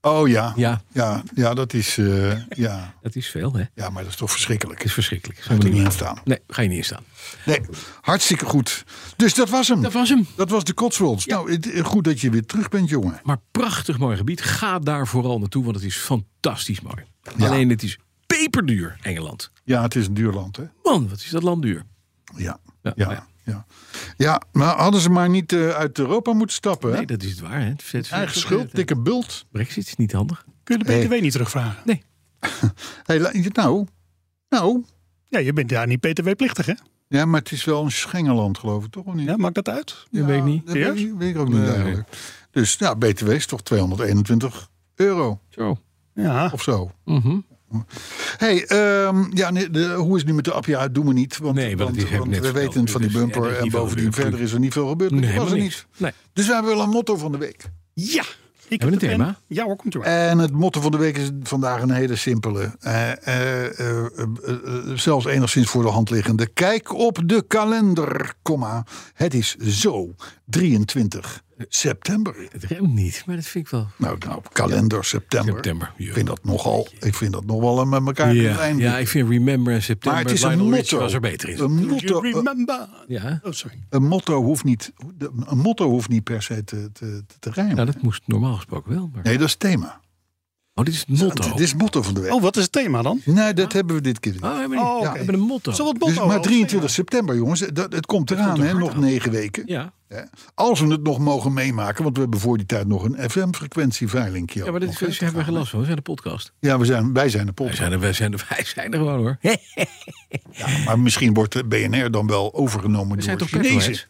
Speaker 2: Oh ja.
Speaker 3: Ja.
Speaker 2: Ja, ja dat is. eh, ja.
Speaker 3: Dat is veel, hè?
Speaker 2: ja, maar dat is toch
Speaker 3: Het
Speaker 2: verschrikkelijk.
Speaker 3: is verschrikkelijk. Ga
Speaker 2: Gaat er niet in
Speaker 3: niet
Speaker 2: staan.
Speaker 3: Nee, ga je niet in staan.
Speaker 2: Nee, hartstikke goed. Dus dat was hem.
Speaker 3: Dat was hem.
Speaker 2: Dat was de Cotswolds. Nou, het- eh, goed dat je weer terug bent, jongen.
Speaker 3: Maar prachtig mooi gebied. Ga daar vooral naartoe, want het is fantastisch mooi. Alleen het is peperduur, Engeland.
Speaker 2: Ja, het is een duur land, hè?
Speaker 3: Man, wat is dat land duur.
Speaker 2: Ja.
Speaker 3: Ja,
Speaker 2: Ja,
Speaker 3: ja.
Speaker 2: ja. ja. maar hadden ze maar niet eh, uit Europa moeten stappen, hè?
Speaker 3: Nee, dat is het waar. Hè? Het is-
Speaker 2: Eigen schuld, dikke bult.
Speaker 3: Brexit is niet handig.
Speaker 4: Kun je de BTW niet terugvragen?
Speaker 3: Nee.
Speaker 2: Hey, la- nou, nou.
Speaker 4: Ja, je bent daar niet BTW-plichtig, hè?
Speaker 2: Ja, maar het is wel een Schengeland, geloof ik, toch? Of niet?
Speaker 4: Ja, maakt dat uit?
Speaker 3: Dat weet ik niet.
Speaker 2: Dat weet,
Speaker 4: Ja?
Speaker 2: ik- weet ik ook niet eigenlijk. Dus, ja, BTW is toch 221 euro
Speaker 3: Zo.
Speaker 4: Ja.
Speaker 2: of zo.
Speaker 3: Mhm.
Speaker 2: Hey, ehm, ja, nee, de- hoe is het nu met de Appia? Dat doen we niet. Want,
Speaker 3: Nee, want het is- heb ik
Speaker 2: want
Speaker 3: net
Speaker 2: we
Speaker 3: verteld.
Speaker 2: weten het van die
Speaker 3: Dus,
Speaker 2: bumper.
Speaker 3: ja, dat is
Speaker 2: en
Speaker 3: niet
Speaker 2: bovendien
Speaker 3: veel
Speaker 2: verder is er niet veel gebeurd.
Speaker 3: Nee,
Speaker 2: dat was
Speaker 3: helemaal
Speaker 2: er
Speaker 3: niks.
Speaker 2: niet.
Speaker 3: Nee.
Speaker 2: Dus we hebben wel een motto van de week.
Speaker 4: Ja. Ik
Speaker 3: we
Speaker 4: heb
Speaker 3: een
Speaker 4: de pen.
Speaker 3: thema? Eh,
Speaker 4: Ja hoor, komt u maar.
Speaker 2: En het motto van de week is vandaag een hele simpele. eh, eh, eh, eh, eh, zelfs enigszins voor de hand liggende. Kijk op de kalender, komma. Het is zo 23 september.
Speaker 3: Het remt niet, maar dat vind ik wel.
Speaker 2: Nou, nou kalender september.
Speaker 3: September, ja.
Speaker 2: Ik vind dat nogal, ik vind dat nogal een met elkaar
Speaker 3: Ja,
Speaker 2: lijn.
Speaker 3: ja, ik vind Remember en September.
Speaker 2: maar het is een
Speaker 3: Lionel Richie
Speaker 2: motto.
Speaker 3: was er beter in.
Speaker 2: Een motto,
Speaker 4: You remember.
Speaker 3: Ja.
Speaker 4: Oh, sorry.
Speaker 2: Een motto hoeft niet, een motto hoeft niet per se te, te, te, te rijmen.
Speaker 3: Nou, dat moest normaal gesproken wel. Maar...
Speaker 2: Nee, dat is het thema.
Speaker 3: Oh, dit is het motto.
Speaker 2: Dit is het motto van de week.
Speaker 4: Oh, wat is het thema dan?
Speaker 2: Nee, dat hebben we dit keer niet.
Speaker 3: Oh, we hebben,
Speaker 4: Oh,
Speaker 3: niet-
Speaker 4: oké.
Speaker 3: we hebben een motto. oh,
Speaker 4: Zo wat
Speaker 2: Dus,
Speaker 4: motto
Speaker 2: maar
Speaker 4: als
Speaker 2: 23 september, jongens, dat, het komt eraan,
Speaker 3: er
Speaker 2: hè,
Speaker 3: hard
Speaker 2: nog
Speaker 3: aan.
Speaker 2: negen weken.
Speaker 3: Ja.
Speaker 2: Hè. Als we het nog mogen meemaken, want we hebben voor die tijd nog een FM-frequentieveilingje.
Speaker 3: ja, maar dat is, hebben we gelast van. We zijn de podcast.
Speaker 2: ja we zijn, wij zijn de
Speaker 3: Wij
Speaker 2: podcast.
Speaker 3: zijn er, wij zijn er, [LAUGHS] wij zijn er gewoon hoor. We
Speaker 2: Maar misschien wordt de BNR dan wel overgenomen
Speaker 3: zijn
Speaker 2: door
Speaker 3: toch
Speaker 2: Chinezen.
Speaker 3: petroheads?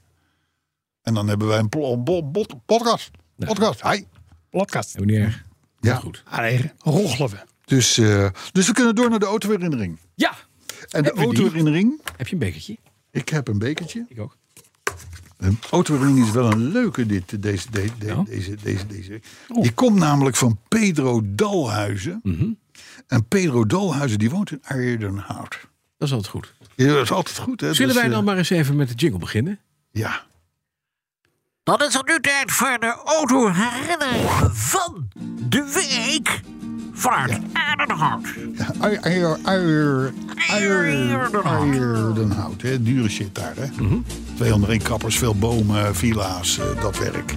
Speaker 2: En dan hebben wij een pl- bo- bot- podcast. Podcast, hi.
Speaker 4: Podcast.
Speaker 3: Hebben we niet erg.
Speaker 2: Ja.
Speaker 3: Goed.
Speaker 4: Ah, nee, roggelen we.
Speaker 2: Dus, eh, dus we kunnen door naar de autoherinnering.
Speaker 3: Ja.
Speaker 2: En de
Speaker 3: Hebben we die?
Speaker 2: autoherinnering,
Speaker 3: Heb je een bekertje?
Speaker 2: ik heb een bekertje.
Speaker 3: Ik ook.
Speaker 2: Een autoherinnering is wel een leuke, dit, deze, de- de-
Speaker 3: Ja. Oh.
Speaker 2: deze, deze, deze. Die komt namelijk van Pedro Dalhuizen.
Speaker 3: Mhm.
Speaker 2: En Pedro Dalhuizen die woont in Aardenhout.
Speaker 3: Dat is altijd goed.
Speaker 2: Ja, dat is altijd goed. Hè?
Speaker 3: Zullen
Speaker 2: Dus,
Speaker 3: wij
Speaker 2: eh,
Speaker 3: dan maar eens even met de jingle beginnen?
Speaker 2: Ja.
Speaker 5: Dan is het nu tijd voor de auto-herinnering van de week vanuit Aardenhout.
Speaker 2: Ja, Aar- Aar- Aar- Aar-
Speaker 5: Aardenhout.
Speaker 2: Aardenhout. Hè? Dure shit daar. Hè?
Speaker 3: Mhm.
Speaker 2: 201 kappers, veel bomen, villa's, eh, dat werk.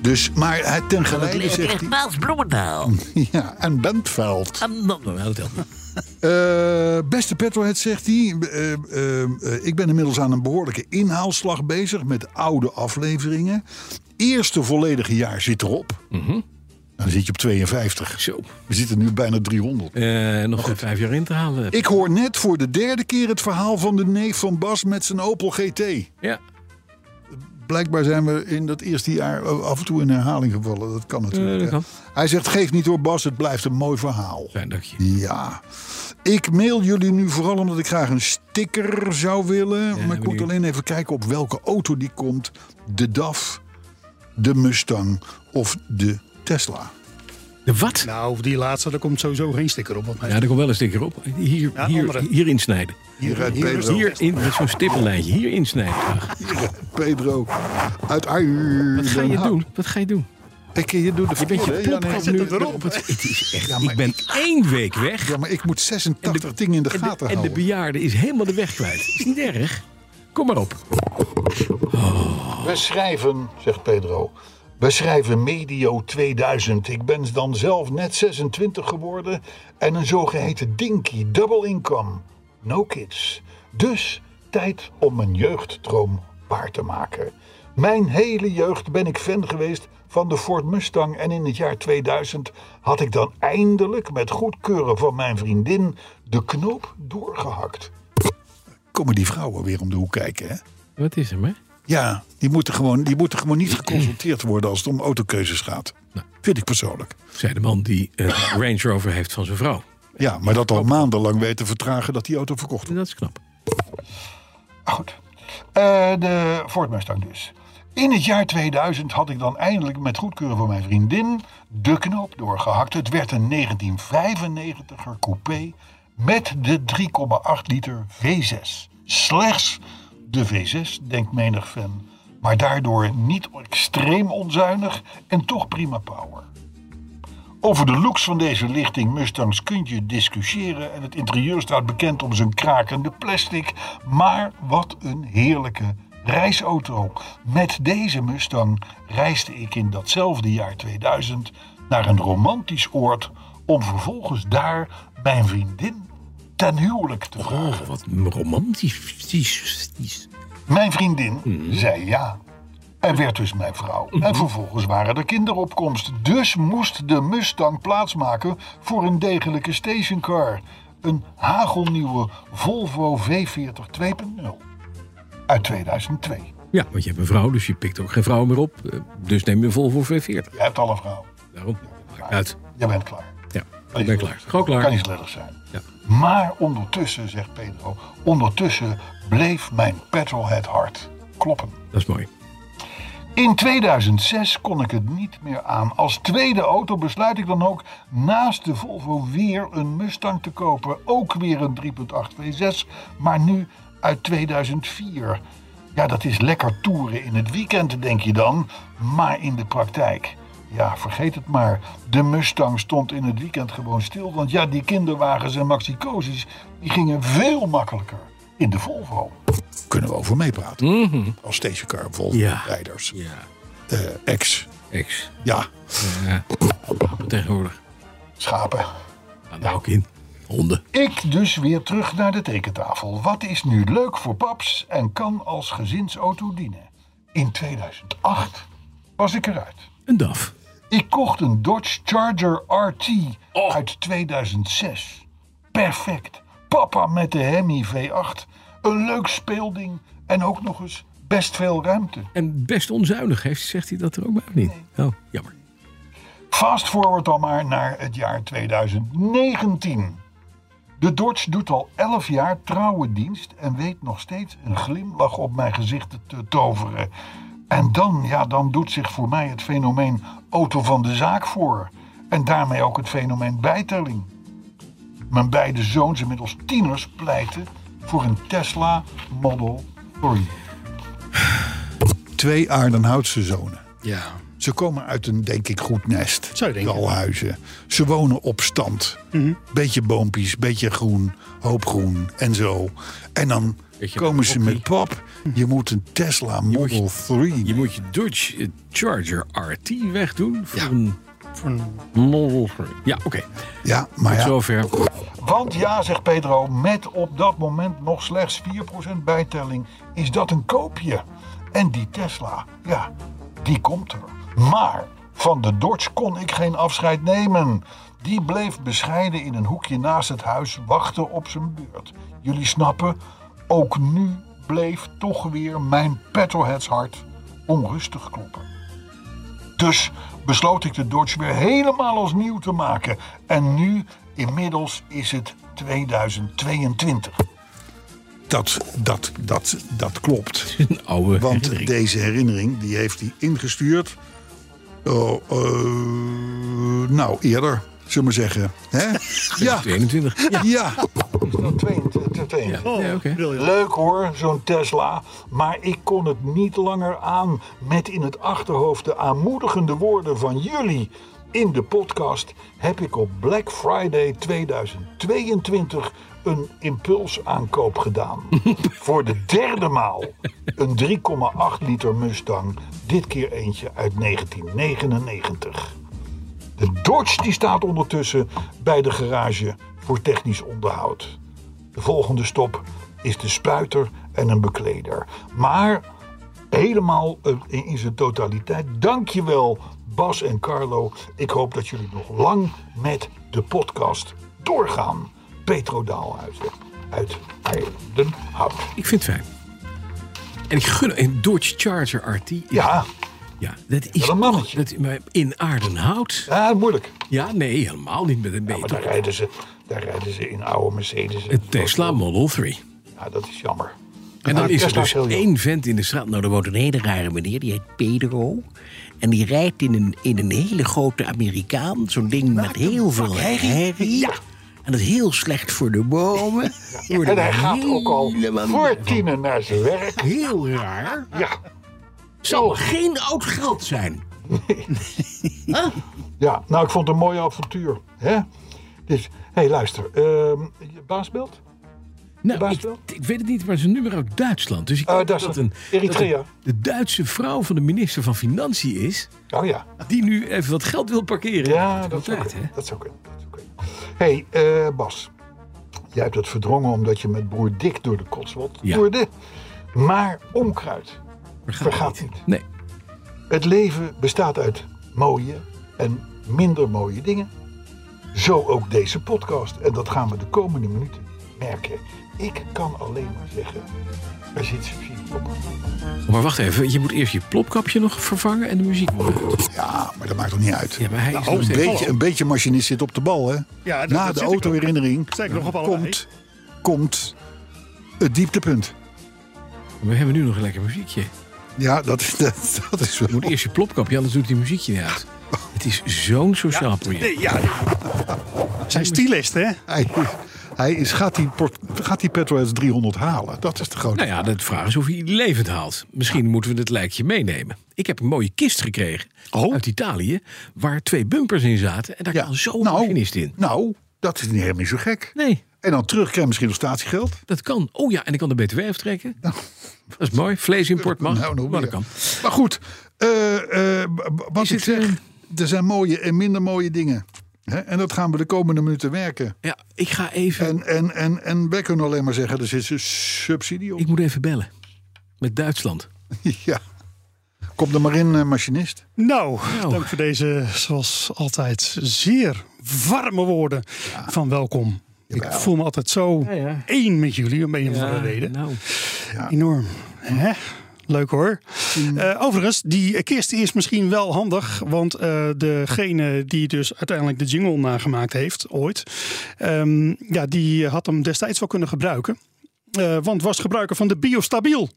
Speaker 2: Dus, maar eh, ten geleide
Speaker 5: Het
Speaker 2: zegt
Speaker 5: ligt
Speaker 2: hij.
Speaker 5: naast Bloemendaal.
Speaker 2: Hm. [LAUGHS] Ja, en Bentveld.
Speaker 5: En dan-
Speaker 3: Nou, dat helpt niet.
Speaker 2: Eh, beste Petrohead, zegt hij. eh, eh, eh, ik ben inmiddels aan een behoorlijke inhaalslag
Speaker 3: Mhm.
Speaker 2: bezig met oude afleveringen. Eerste volledige jaar zit erop. Dan zit je op 52.
Speaker 3: Zo.
Speaker 2: We zitten nu bijna 300.
Speaker 3: Eh, nog vijf jaar in te halen.
Speaker 2: Ik hoor net voor de derde keer het verhaal van de neef van Bas met zijn Opel GT.
Speaker 3: Ja.
Speaker 2: Blijkbaar zijn we in dat eerste jaar af en toe in herhaling gevallen. Dat kan natuurlijk.
Speaker 3: Eh, dat
Speaker 2: hè.
Speaker 3: kan.
Speaker 2: Hij zegt, geef niet door Bas, het blijft een mooi verhaal.
Speaker 3: Fijn dat je.
Speaker 2: Ja. Ik mail jullie nu vooral omdat ik graag een sticker zou willen. maar ik moet
Speaker 3: benieuwd.
Speaker 2: alleen even kijken op welke auto die komt. De DAF, de Mustang of de Tesla.
Speaker 3: De wat?
Speaker 4: Nou, die laatste, daar komt sowieso geen sticker op. Wat mij.
Speaker 3: Ja, daar komt wel een sticker op. Hier,
Speaker 4: Ja,
Speaker 3: hier,
Speaker 4: andere.
Speaker 3: hier insnijden.
Speaker 2: Hier uit
Speaker 4: hier is
Speaker 2: Pedro.
Speaker 3: Hier in met zo'n stippenlijntje. Hier insnijden. graag.
Speaker 2: Hier uit Pedro. Uit Ui.
Speaker 3: Wat ga je doen? Wat ga je doen?
Speaker 2: Ik, je doet de
Speaker 3: Je bent
Speaker 2: verkeerde,
Speaker 3: je
Speaker 2: hè? Ja, nee.
Speaker 3: plopkap nu op het... Het is echt... ik ben één week weg.
Speaker 2: Ja, maar ik moet
Speaker 3: En
Speaker 2: 86 dingen in de
Speaker 3: en
Speaker 2: gaten
Speaker 3: En de
Speaker 2: houden.
Speaker 3: bejaarde is helemaal de weg kwijt. Is niet erg. Kom maar op.
Speaker 2: We schrijven, zegt Pedro. We schrijven medio 2000. Ik ben dan zelf net 26 geworden en een zogeheten dinky, double income. No kids. Dus tijd om mijn jeugdtroom waar te maken. Mijn hele jeugd ben ik fan geweest van de Ford Mustang en in het jaar 2000 had ik dan eindelijk met goedkeuren van mijn vriendin de knoop doorgehakt. Komen die vrouwen weer om de hoek kijken, hè?
Speaker 3: Wat is er, hè?
Speaker 2: Ja, die moeten gewoon, die moeten gewoon niet geconsulteerd worden als het om autokeuzes gaat. Vind ik persoonlijk.
Speaker 3: Zei de man die een Range Rover heeft van zijn vrouw.
Speaker 2: Ja, maar dat al maandenlang weten vertragen dat die auto verkocht
Speaker 3: En dat is knap.
Speaker 2: Ah, Goed. Eh, de Ford Mustang dus. In het jaar 2000 had ik dan eindelijk met goedkeuren van mijn vriendin de knoop doorgehakt. Het werd een 1995er coupé met de 3,8 liter V6. Slechts de V6, denkt menig fan. Maar daardoor niet extreem onzuinig en toch prima power. Over de looks van deze lichting Mustangs kunt je discussiëren en het interieur staat bekend om zijn krakende plastic. Maar wat een heerlijke reisauto. Met deze Mustang reisde ik in datzelfde jaar 2000 naar een romantisch oord om vervolgens daar mijn vriendin ten huwelijk te vragen.
Speaker 3: Oh, wat romantisch.
Speaker 2: Mijn vriendin
Speaker 3: Mhm.
Speaker 2: zei ja. En werd dus mijn vrouw. En vervolgens waren er kinderopkomst. Dus moest de Mustang plaatsmaken voor een degelijke stationcar. Een hagelnieuwe Volvo V40 2.0 uit 2002.
Speaker 3: Ja, want je hebt een vrouw, dus je pikt ook geen vrouw meer op. Eh, Dus neem je een Volvo V40.
Speaker 2: Je hebt al een vrouw.
Speaker 3: Daarom. Maakt uit.
Speaker 2: Je bent klaar.
Speaker 3: Ja, ik ben klaar. Gewoon
Speaker 2: Kan
Speaker 3: klaar.
Speaker 2: niet sledig zijn.
Speaker 3: Ja.
Speaker 2: Maar ondertussen, zegt Pedro, ondertussen bleef mijn petrolhead hart kloppen.
Speaker 3: Dat is mooi.
Speaker 2: In 2006 kon ik het niet meer aan. Als tweede auto besluit ik dan ook naast de Volvo weer een Mustang te kopen. Ook weer een 3.8 V6, maar nu uit 2004. Ja, dat is lekker toeren in het weekend, denk je dan. Maar in de praktijk, ja, vergeet het maar. De Mustang stond in het weekend gewoon stil. Want ja, die kinderwagens en Maxi-Cosis, die gingen veel makkelijker in de Volvo. Kunnen we over meepraten. Als stationcar
Speaker 3: Mhm. Ja.
Speaker 2: Volvo-rijders
Speaker 3: Ja.
Speaker 2: eh ex.
Speaker 3: Ex.
Speaker 2: Ja,
Speaker 3: Ja. Eh, Tegenwoordig.
Speaker 2: schapen.
Speaker 3: Gaan daar ook in. Honden.
Speaker 2: Ik dus weer terug naar de tekentafel. Wat is nu leuk voor paps en kan als gezinsauto dienen? In 2008 was ik eruit.
Speaker 3: Een DAF.
Speaker 2: Ik kocht een Dodge Charger RT uit 2006. Perfect. Papa met de Hemi V8. Een leuk speelding en ook nog eens best veel ruimte.
Speaker 3: En best onzuinig heeft, zegt hij dat er ook bij of niet? Oh, jammer.
Speaker 2: Fast forward dan maar naar het jaar 2019. De Dodge doet al 11 jaar trouwe dienst en weet nog steeds een glimlach op mijn gezicht te toveren. En dan, ja, dan doet zich voor mij het fenomeen auto van de zaak voor. En daarmee ook het fenomeen bijtelling. Mijn beide zoons, inmiddels tieners, pleiten voor een Tesla Model 3. Twee Aardenhoutse zonen.
Speaker 4: Ja.
Speaker 2: Ze komen uit een, denk ik, goed nest.
Speaker 4: Zou je denken.
Speaker 2: Walhuizen. Ze wonen op stand. Beetje boompjes, beetje groen, hoop groen en zo. En dan
Speaker 3: Beetje
Speaker 2: komen ze
Speaker 3: hockey.
Speaker 2: met pap. Je moet een Tesla Model 3.
Speaker 3: Je moet je Dodge eh, Charger RT wegdoen voor een
Speaker 4: Voor een-
Speaker 3: Model 3. Ja, oké.
Speaker 2: ja, maar
Speaker 3: Tot
Speaker 2: ja.
Speaker 3: zover.
Speaker 2: Want ja, zegt Pedro, met op dat moment nog slechts 4% bijtelling is dat een koopje. En die Tesla, ja, die komt er. Maar Van de Dodge kon ik geen afscheid nemen. Die bleef bescheiden in een hoekje naast het huis wachten op zijn beurt. Jullie snappen, ook nu bleef toch weer mijn petrolheads hart onrustig kloppen. Dus besloot ik de Dodge weer helemaal als nieuw te maken. En nu, inmiddels, is het 2022. Dat, dat, dat, dat klopt.
Speaker 3: Een oude
Speaker 2: Want
Speaker 3: herinnering.
Speaker 2: deze herinnering die heeft hij ingestuurd. Oh, eh, nou, eerder, zullen we maar zeggen. Hè? Ja,
Speaker 3: 21. Ja,
Speaker 2: ja. Twee- twee- twee.
Speaker 3: ja. Nee, oké.
Speaker 2: Leuk hoor, zo'n Tesla. Maar ik kon het niet langer aan met in het achterhoofd de aanmoedigende woorden van jullie. In de podcast heb ik op Black Friday 2022 een impulsaankoop gedaan.
Speaker 3: [LAUGHS]
Speaker 2: Voor de derde maal een 3,8 liter Mustang. Dit keer eentje uit 1999. De Dodge die staat ondertussen bij de garage voor technisch onderhoud. De volgende stop is de spuiter en een bekleder. Maar helemaal eh, in in zijn totaliteit. Dankjewel Bas en Carlo. Ik hoop dat jullie nog lang met de podcast doorgaan. Petro Daalhuis uit Heidenhout.
Speaker 3: Ik vind het fijn. En ik gun een Dodge Charger RT. is-
Speaker 2: Ja,
Speaker 3: ja dat is
Speaker 2: Wel een mannetje.
Speaker 3: Dat, maar in Aardenhout.
Speaker 2: ja, moeilijk.
Speaker 3: Ja, nee, helemaal niet met een
Speaker 2: Maar daar
Speaker 3: beter.
Speaker 2: rijden, ze, daar rijden ze in oude Mercedes.
Speaker 3: Een Tesla Model 3.
Speaker 2: Ja, dat is jammer.
Speaker 3: En dan
Speaker 2: Ah,
Speaker 3: is er
Speaker 2: Tesla
Speaker 3: dus
Speaker 2: is heel jong.
Speaker 3: één vent in de straat. Nou,
Speaker 6: Nou, er woont een hele rare meneer, die heet Pedro. En die rijdt in een, in een hele grote Amerikaan. Zo'n ding met heel veel herrie.
Speaker 2: Ja.
Speaker 6: En dat is heel slecht voor de
Speaker 2: [LAUGHS]
Speaker 6: bomen. Wordt
Speaker 2: En hij gaat ook al
Speaker 6: helemaal
Speaker 2: voor tienen naar zijn werk.
Speaker 6: Heel raar.
Speaker 2: Ja,
Speaker 6: Zal geen oud geld zijn.
Speaker 2: ja. nou, ik vond het een mooi avontuur. Hè? Dus, hé, hey, luister. ehm, je baas belt?
Speaker 3: nou,
Speaker 2: baas
Speaker 3: ik,
Speaker 2: wel?
Speaker 3: ik weet het niet, maar zijn nummer uit Duitsland. Dus ik
Speaker 2: Uit
Speaker 3: denk
Speaker 2: Duitsland.
Speaker 3: dat een,
Speaker 2: Eritrea.
Speaker 3: dat een- de Duitse vrouw van de minister van Financiën is.
Speaker 2: Oh ja.
Speaker 3: Die nu even wat geld wil parkeren.
Speaker 2: Ja,
Speaker 3: Dat
Speaker 2: dat is
Speaker 3: kan
Speaker 2: ook
Speaker 3: hè?
Speaker 2: kunnen. Dat zou kunnen. Dat zou kunnen. Hé, hey, eh, Bas. Jij hebt het verdrongen omdat je met broer Dick door de kotswot
Speaker 3: Ja.
Speaker 2: toerde. Maar onkruid
Speaker 3: Vergaat
Speaker 2: vergaat niet.
Speaker 3: Nee.
Speaker 2: Het leven bestaat uit mooie en minder mooie dingen. Zo ook deze podcast. En dat gaan we de komende minuten merken. Ik kan alleen maar zeggen, er zit subsidie op.
Speaker 3: Maar wacht even, je moet eerst je plopkapje nog vervangen en de muziek moet
Speaker 7: Oh.
Speaker 3: uit.
Speaker 7: Ja, maar dat maakt toch niet uit.
Speaker 3: Ja, maar hij is nog
Speaker 7: een,
Speaker 3: steeds-
Speaker 7: beetje, een beetje machinist zit op de bal, hè?
Speaker 8: Oh, Ja, dat-
Speaker 7: Na
Speaker 8: dat zit
Speaker 7: de
Speaker 8: ik ook.
Speaker 7: autoherinnering
Speaker 8: Sta ik nog op allebei.
Speaker 7: komt, komt het dieptepunt.
Speaker 3: We hebben nu nog een lekker muziekje.
Speaker 7: Ja, dat, dat, dat is wel...
Speaker 3: Je moet eerst je plopkapje, anders doet die muziekje niet uit. Het is zo'n sociaal project.
Speaker 8: Nee, ja. Zijn stylist, hè?
Speaker 7: Hij, hij is, gaat die, port- gaat die petrolheads 300 halen? Dat is de grote...
Speaker 3: Nou ja, de vraag is of hij die levend haalt. Misschien moeten we het lijkje meenemen. Ik heb een mooie kist gekregen
Speaker 7: Oh.
Speaker 3: uit Italië... waar twee bumpers in zaten en daar kan zo'n machinist in.
Speaker 7: Nou, dat is niet helemaal zo gek.
Speaker 3: Nee,
Speaker 7: En dan terug krijg je misschien nog statiegeld.
Speaker 3: dat kan. Oh ja, en ik kan de BTW aftrekken. Dat is mooi. Vleesimport mag,
Speaker 7: Nou, nog
Speaker 3: maar dat
Speaker 7: meer.
Speaker 3: kan.
Speaker 7: Maar goed, eh, eh, b- b- wat
Speaker 3: Is
Speaker 7: ik
Speaker 3: het, eh,
Speaker 7: zeg, er zijn mooie en minder mooie dingen. Hè? En dat gaan we de komende minuten werken.
Speaker 3: Ja, ik ga even...
Speaker 7: En, en, en, en wij kunnen alleen maar zeggen, er zit een subsidie op.
Speaker 3: Ik moet even bellen. Met Duitsland.
Speaker 7: [LAUGHS] Ja. Kom er maar in, eh, machinist.
Speaker 8: Nou,
Speaker 3: Nou.
Speaker 8: dank voor deze, zoals altijd, zeer warme woorden van welkom. Ik voel me altijd zo één met jullie, om een of andere reden.
Speaker 3: Nou,
Speaker 8: Enorm. Hè? Leuk hoor. Eh, overigens, die kist is misschien wel handig. Want eh, degene die dus uiteindelijk de jingle nagemaakt heeft, ooit. ehm, ja, die had hem destijds wel kunnen gebruiken. Eh, want was gebruiker van de Biostabiel.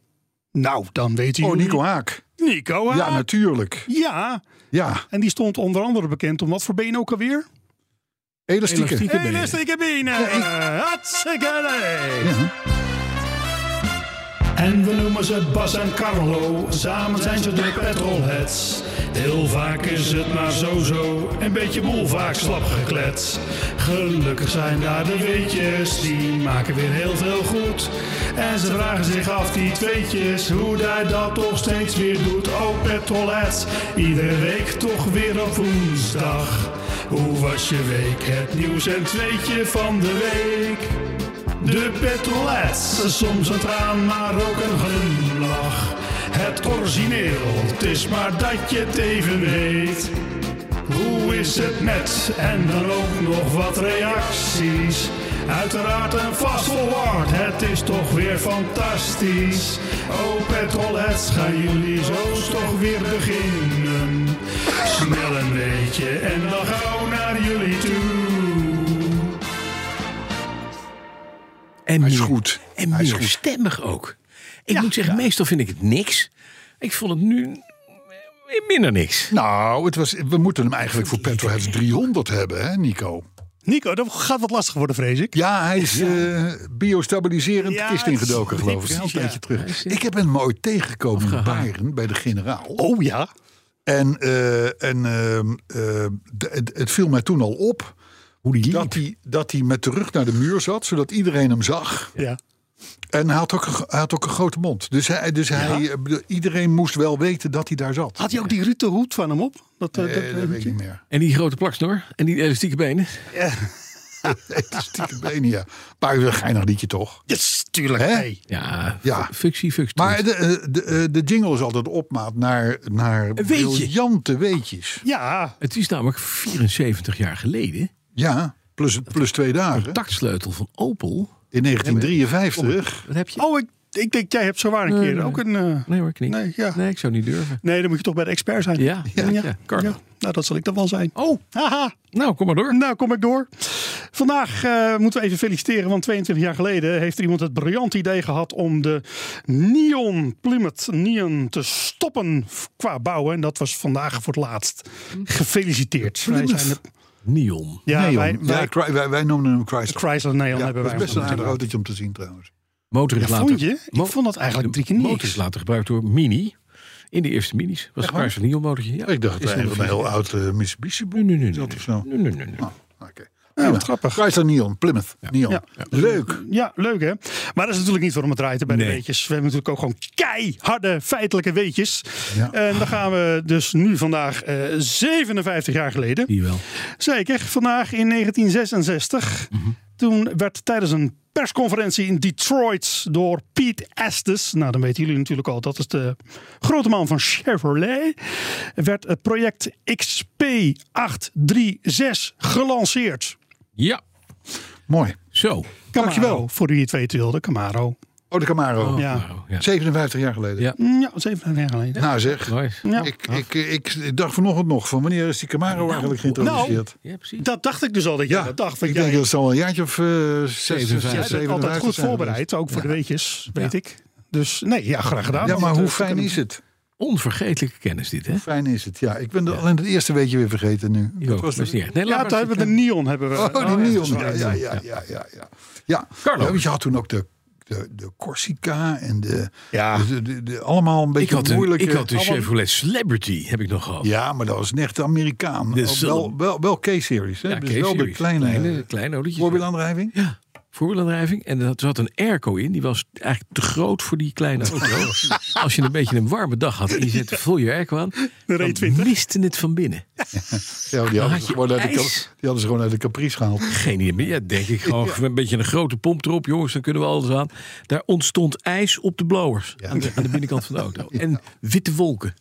Speaker 8: Nou, dan weet u.
Speaker 7: Oh, Nico Haak.
Speaker 8: Nico,
Speaker 7: Ja,
Speaker 8: ja,
Speaker 7: natuurlijk.
Speaker 8: ja,
Speaker 7: Ja,
Speaker 8: en die stond onder andere bekend om wat voor been ook alweer?
Speaker 7: elastieke.
Speaker 3: Elastieke.
Speaker 8: Hé,
Speaker 3: benen.
Speaker 8: lastige benen! Hartstikke leuk!
Speaker 7: Ja.
Speaker 8: En we noemen ze Bas en Carlo, samen zijn ze de petrolheads. Heel vaak is het maar zo-zo, een beetje boel vaak slap geklets. Gelukkig zijn daar de weetjes, die maken weer heel veel goed. En ze vragen zich af, die tweetjes, hoe hij dat toch steeds weer doet. Oh petrolheads, iedere week toch weer op woensdag. Hoe was je week? Het nieuws en tweetje van de week. De petrolets, soms een traan, maar ook een glimlach.
Speaker 4: Het origineel, het is maar dat je het even weet. Hoe is het met en dan ook nog wat reacties? Uiteraard een fast forward, het is toch weer fantastisch. Oh petrolheads, gaan jullie zo toch weer beginnen? Snel een beetje en dan gauw naar jullie toe.
Speaker 3: En
Speaker 2: Hij is
Speaker 3: meer-
Speaker 2: goed.
Speaker 3: En
Speaker 2: Hij is
Speaker 3: meer
Speaker 2: goed.
Speaker 3: stemmig ook. Ik moet zeggen, meestal vind ik het niks. Ik vond het nu eh, minder niks.
Speaker 2: Nou, het was, we moeten hem eigenlijk voor Petroheads 300 hebben, hè, Nico?
Speaker 8: Nico, dat gaat wat lastig worden, vrees ik.
Speaker 2: Ja, hij is eh biostabiliserend
Speaker 8: Ja,
Speaker 2: de kist ingedoken,
Speaker 8: het is-
Speaker 2: geloof ik. hè,
Speaker 8: precies,
Speaker 2: een tijdje
Speaker 8: ja. eh,
Speaker 2: terug. Ik heb hem ooit tegengekomen in Bayern bij de generaal.
Speaker 8: Oh ja.
Speaker 2: En, eh, en ehm, eh, d- het- het viel mij toen al op
Speaker 8: Hoe die
Speaker 2: dat hij, dat hij met de rug naar de muur zat, zodat iedereen hem zag.
Speaker 8: Ja.
Speaker 2: En hij had ook een, gro- hij had ook een grote mond. Dus, hij, dus hij, eh, bedoel, iedereen moest wel weten dat hij daar zat.
Speaker 8: Had hij ook die rute hoed van hem op? Dat, eh,
Speaker 2: Eh, dat weet ik niet [LAUGHS] meer.
Speaker 3: En die grote plaksnor. En die elastieke benen.
Speaker 2: Stiekem benen, ja. Maar een geinig liedje toch?
Speaker 8: Yes, tuurlijk.
Speaker 2: Hè?
Speaker 8: Hey.
Speaker 3: Ja,
Speaker 2: Ja.
Speaker 3: functie, functie.
Speaker 2: Maar de, eh, de, eh, de jingle is altijd opmaat naar, naar
Speaker 3: weetje.
Speaker 2: briljante weetjes.
Speaker 8: Ja.
Speaker 3: het is namelijk 74 jaar geleden.
Speaker 2: Ja, plus, plus twee dagen.
Speaker 3: Taktsleutel van Opel.
Speaker 2: In 1953.
Speaker 3: Wat heb je?
Speaker 8: Oh, ik, ik denk, jij hebt zo waar een
Speaker 3: Nee,
Speaker 8: keer
Speaker 3: nee.
Speaker 8: ook een... eh,
Speaker 3: Nee hoor, ik niet.
Speaker 8: Nee, ja.
Speaker 3: nee, ik zou niet durven.
Speaker 8: Nee, dan moet je toch bij de expert zijn.
Speaker 3: Ja, ja, ja. Carlo.
Speaker 8: Nou, dat zal ik dan wel zijn.
Speaker 3: Oh,
Speaker 8: Haha.
Speaker 3: nou kom maar door.
Speaker 8: Nou, kom ik door. Vandaag eh, moeten we even feliciteren, want 22 jaar geleden heeft er iemand het briljant idee gehad om de Neon Plymouth Neon te stoppen f- qua bouwen. En dat was vandaag voor het laatst.
Speaker 3: Hm.
Speaker 8: Gefeliciteerd. Wij zijn de-
Speaker 3: Neon.
Speaker 8: ja,
Speaker 2: Nee,
Speaker 8: wij,
Speaker 2: joh.
Speaker 8: wij,
Speaker 2: Ja, Chry- wij, wij noemen hem Chrysler.
Speaker 8: Chrysler Neon
Speaker 2: Ja,
Speaker 8: hebben
Speaker 2: dat
Speaker 8: wij.
Speaker 2: is best een
Speaker 8: ontmoet.
Speaker 2: aardig autootje om te zien trouwens.
Speaker 3: Motor is
Speaker 8: Ja,
Speaker 3: later,
Speaker 8: vond je? Ik
Speaker 3: mo-
Speaker 8: vond dat eigenlijk drie keer
Speaker 3: de
Speaker 8: niks.
Speaker 3: Motor is later gebruikt door Mini. In de eerste Minis. Was een Chrysler Neon motortje. Ja,
Speaker 2: Ik dacht
Speaker 3: is
Speaker 2: dat hij een heel oud eh, Mitsubishi
Speaker 3: Nee, nee, nee.
Speaker 2: Dat
Speaker 3: nee,
Speaker 2: is nou-
Speaker 3: nee, nee, nee, nee.
Speaker 2: Oké.
Speaker 8: Ja, wat grappig.
Speaker 2: Chrysler Neon, Plymouth Neon.
Speaker 8: Ja.
Speaker 2: Leuk.
Speaker 8: Ja, leuk hè. Maar dat is natuurlijk niet waarom het draait hè, bij de
Speaker 3: Nee.
Speaker 8: weetjes. We hebben natuurlijk ook gewoon keiharde feitelijke weetjes.
Speaker 2: Ja.
Speaker 8: En dan gaan we dus nu vandaag eh, 57 jaar geleden.
Speaker 3: Die wel.
Speaker 8: Zeker, vandaag in 1966.
Speaker 3: Mhm.
Speaker 8: Toen werd tijdens een persconferentie in Detroit door Pete Estes, nou dan weten jullie natuurlijk al, dat is de grote man van Chevrolet, werd het project XP836 gelanceerd.
Speaker 3: Ja,
Speaker 2: Mooi.
Speaker 3: zo.
Speaker 8: Camaro,
Speaker 2: Dankjewel.
Speaker 8: Voor wie het weten wilde, Camaro.
Speaker 2: Oh, de Camaro.
Speaker 8: Ja.
Speaker 3: Nou, ja.
Speaker 2: 57 jaar geleden.
Speaker 3: Ja.
Speaker 8: Mm, Ja, 57 jaar geleden.
Speaker 2: Nou zeg,
Speaker 3: Nice.
Speaker 8: Ja.
Speaker 2: ik, ik, ik, ik dacht vanochtend nog van wanneer is die Camaro
Speaker 3: Nou.
Speaker 2: eigenlijk geïntroduceerd?
Speaker 3: Ja, precies.
Speaker 8: Dat dacht ik dus al dat jij Nou. dat dacht.
Speaker 2: ik
Speaker 8: Want
Speaker 2: denk
Speaker 8: jij,
Speaker 2: dat het al een jaartje of eh 56,
Speaker 8: jij bent
Speaker 2: 57
Speaker 8: altijd goed
Speaker 2: zijn
Speaker 8: voorbereid, ook voor de weetjes, weet ik. Dus nee, ja, graag gedaan.
Speaker 2: geweest. Ja, maar
Speaker 8: Want,
Speaker 2: hoe
Speaker 8: eh,
Speaker 2: fijn is het?
Speaker 3: Onvergetelijke kennis dit, hè?
Speaker 2: Fijn is het, ja. Ik ben de- alleen het eerste weetje weer vergeten nu.
Speaker 3: Ik
Speaker 2: Dat
Speaker 3: ook.
Speaker 2: was
Speaker 3: Was
Speaker 2: de-
Speaker 3: niet echt. Nee,
Speaker 8: Ja,
Speaker 3: laat
Speaker 8: toen
Speaker 3: maar
Speaker 8: hebben we de
Speaker 3: zitten.
Speaker 8: neon hebben we.
Speaker 2: Oh, die
Speaker 8: ja,
Speaker 2: neon.
Speaker 8: sorry.
Speaker 2: Ja, ja, ja, ja, ja, ja. ja.
Speaker 3: Carlo.
Speaker 2: Ja, want je had toen ook de, de, de Corsica en de,
Speaker 8: Ja.
Speaker 2: de, de- de- allemaal een
Speaker 3: Ik
Speaker 2: beetje
Speaker 3: had, een,
Speaker 2: moeilijke...
Speaker 3: ik had een
Speaker 2: allemaal-
Speaker 3: Chevrolet Celebrity, heb ik nog gehad.
Speaker 2: Ja, maar dat was een echte Amerikaan.
Speaker 3: De
Speaker 2: Wel- wel,
Speaker 3: Sullen.
Speaker 2: wel, wel K-series. hè?
Speaker 3: Ja,
Speaker 2: dus
Speaker 3: K-series.
Speaker 2: wel de kleine,
Speaker 3: kleine,
Speaker 2: kleine
Speaker 3: kleine autootjes.
Speaker 2: voorwielaandrijving.
Speaker 3: Ja, voorwielaandrijving. En er zat een airco in. Die was eigenlijk te groot voor die kleine auto. Als je een beetje een warme dag had en je zette vol je airco aan, dan
Speaker 8: R20.
Speaker 3: miste het van binnen.
Speaker 2: Ja, die, hadden
Speaker 3: had
Speaker 2: ze
Speaker 3: je
Speaker 2: gewoon uit de,
Speaker 3: ijs.
Speaker 2: kap- die hadden ze gewoon uit de Caprice gehaald.
Speaker 3: Geen idee meer. Ja, denk ik
Speaker 2: [LAUGHS]
Speaker 3: gewoon een beetje een grote pomp erop, jongens, dan kunnen we alles aan. Daar ontstond ijs op de blowers aan, de, aan de binnenkant van de auto. En witte wolken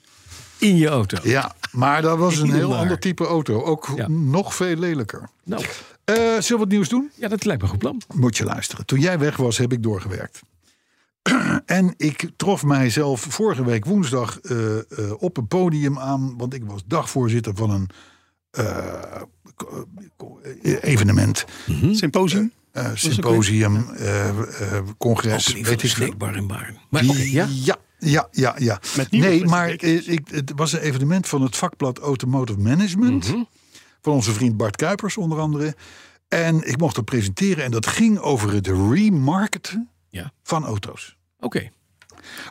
Speaker 3: in je auto.
Speaker 2: Ja, maar dat was een heel
Speaker 3: Wonder.
Speaker 2: ander type auto. Ook
Speaker 3: Ja.
Speaker 2: nog veel lelijker.
Speaker 3: Nou,
Speaker 2: Eh, zullen we wat nieuws doen?
Speaker 3: ja, dat lijkt me een goed plan.
Speaker 2: Moet je luisteren. Toen jij weg was, heb ik doorgewerkt. En ik trof mijzelf vorige week woensdag eh, eh, op een podium aan. Want ik was dagvoorzitter van een eh, co- co-
Speaker 7: eh,
Speaker 2: evenement.
Speaker 3: Hm?
Speaker 8: Symposium.
Speaker 2: Eh, symposium, eh, eh, congres,
Speaker 3: Opening van
Speaker 2: weet
Speaker 3: de
Speaker 2: ik veel.
Speaker 3: snackbar in Baarn. Maar oké, ja?
Speaker 2: Ja, ja, ja. ja.
Speaker 8: Met nieuwe
Speaker 2: nee, maar
Speaker 8: plastic
Speaker 2: eh, ik, het was een evenement van het vakblad Automotive Management. Van onze vriend Bart Kuipers onder andere. En ik mocht dat presenteren. En dat ging over het remarketen
Speaker 3: Ja.
Speaker 2: van auto's.
Speaker 3: Oké.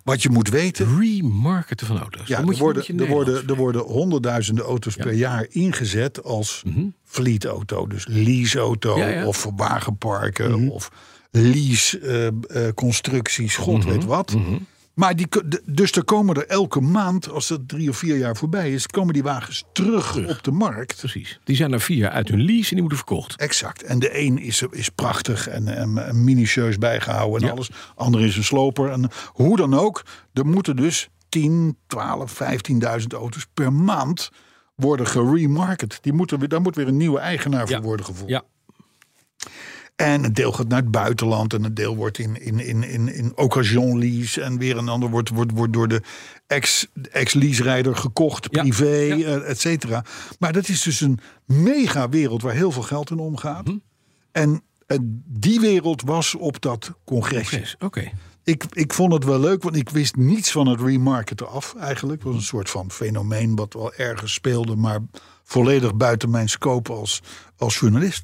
Speaker 2: Wat je moet weten.
Speaker 3: Remarketen van auto's.
Speaker 2: Ja,
Speaker 3: Dan
Speaker 2: er,
Speaker 3: moet je-
Speaker 2: worden,
Speaker 3: moet je
Speaker 2: er, worden,
Speaker 3: Nederlands.
Speaker 2: er worden honderdduizenden auto's per jaar ingezet als fleetauto. Dus leaseauto
Speaker 3: Mhm. Ja, Mhm. ja.
Speaker 2: of voor wagenparken of lease-constructies, god
Speaker 3: Mhm.
Speaker 2: weet wat. Maar die, ko- d- dus er komen er elke maand, als dat drie of vier jaar voorbij is, komen die wagens terug, op de markt.
Speaker 3: Precies. Die zijn er vier jaar uit hun lease en die moeten verkocht.
Speaker 2: Exact. En de een is, is prachtig en, en, en minutieus bijgehouden en alles. Ander is een sloper. En hoe dan ook, er moeten dus 10, 12, 15.000 auto's per maand worden geremarket. Die moeten, we- daar moet weer een nieuwe eigenaar voor worden gevonden.
Speaker 3: Ja.
Speaker 2: En een deel gaat naar het buitenland. En een deel wordt in, in, in, in, in occasion lease. En weer een ander wordt, wordt, wordt door de ex- de ex-lease-rijder gekocht.
Speaker 3: Ja.
Speaker 2: Privé,
Speaker 3: Ja.
Speaker 2: eh, et cetera. Maar dat is dus een mega wereld waar heel veel geld in omgaat.
Speaker 3: Mhm.
Speaker 2: En eh, die wereld was op dat congresje.
Speaker 3: Yes, Oké.
Speaker 2: Ik, ik vond het wel leuk, want ik wist niets van het remarketen af eigenlijk. Het was een soort van fenomeen wat wel ergens speelde, maar volledig buiten mijn scope als, als journalist.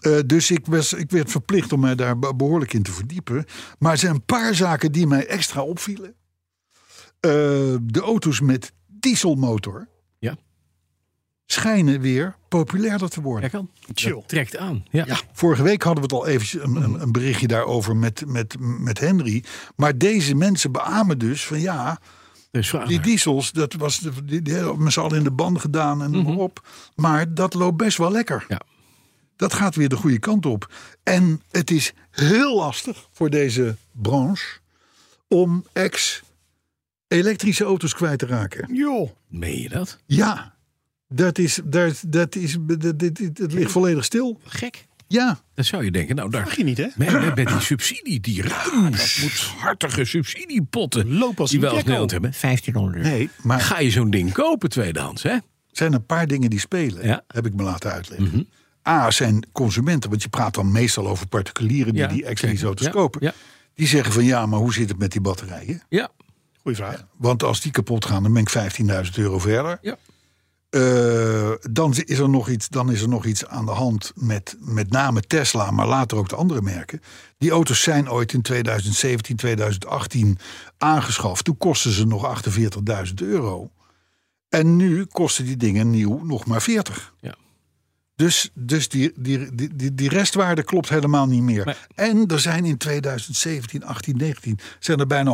Speaker 2: Eh, dus ik, was, ik werd verplicht om mij daar be- behoorlijk in te verdiepen. Maar er zijn een paar zaken die mij extra opvielen. Eh, de auto's met dieselmotor
Speaker 3: Ja.
Speaker 2: schijnen weer populairder te worden.
Speaker 3: Ja, kan. Dat
Speaker 8: Chill.
Speaker 3: trekt aan. Ja.
Speaker 2: Ja, vorige week hadden we het al eventjes een, een, een berichtje daarover met, met, met Henry. Maar deze mensen beamen dus van ja,
Speaker 3: Dus vraag
Speaker 2: die
Speaker 3: maar.
Speaker 2: diesels, dat was de, die, die hebben we met z'n allen in de band gedaan en noem maar op. Maar dat loopt best wel lekker.
Speaker 3: Mhm. Ja.
Speaker 2: Dat gaat weer de goede kant op. En het is heel lastig voor deze branche om ex-elektrische auto's kwijt te raken.
Speaker 8: Joh.
Speaker 3: Meen je dat?
Speaker 2: Ja, dat is, dat, dat is, dat, dit dit- het ligt volledig stil.
Speaker 3: Gek.
Speaker 2: Ja.
Speaker 3: Dan zou je denken, nou daar...
Speaker 8: Mag je niet, hè?
Speaker 3: Met, met, met die subsidie, die ruimhartige subsidiepotten.
Speaker 8: Loop als
Speaker 3: die
Speaker 8: een
Speaker 3: wel
Speaker 8: gekko.
Speaker 3: Nederland hebben.
Speaker 5: 1500.
Speaker 2: Nee, maar
Speaker 3: Ga je zo'n ding kopen tweedehands, hè?
Speaker 2: zijn een paar dingen die spelen,
Speaker 3: Ja. Mhm.
Speaker 2: heb ik me laten uitleggen. A, zijn consumenten, want je praat dan meestal over particulieren die
Speaker 3: Ja,
Speaker 2: die extra
Speaker 3: zeker.
Speaker 2: auto's
Speaker 3: Ja,
Speaker 2: kopen.
Speaker 3: ja.
Speaker 2: Die zeggen van ja, maar hoe zit het met die batterijen?
Speaker 3: Ja.
Speaker 8: Goeie vraag.
Speaker 2: Want als die kapot gaan, dan ben ik 15.000 euro verder.
Speaker 3: Ja.
Speaker 2: Eh, dan, is er nog iets, dan is er nog iets aan de hand met met name Tesla, maar later ook de andere merken. Die auto's zijn ooit in 2017, 2018 aangeschaft. Toen kostten ze nog 48.000 euro. En nu kosten die dingen nieuw nog maar 40.
Speaker 3: Ja.
Speaker 2: Dus, dus die, die, die, die, die restwaarde klopt helemaal niet meer.
Speaker 3: Nee.
Speaker 2: En er zijn in 2017, 18, 19... zijn er bijna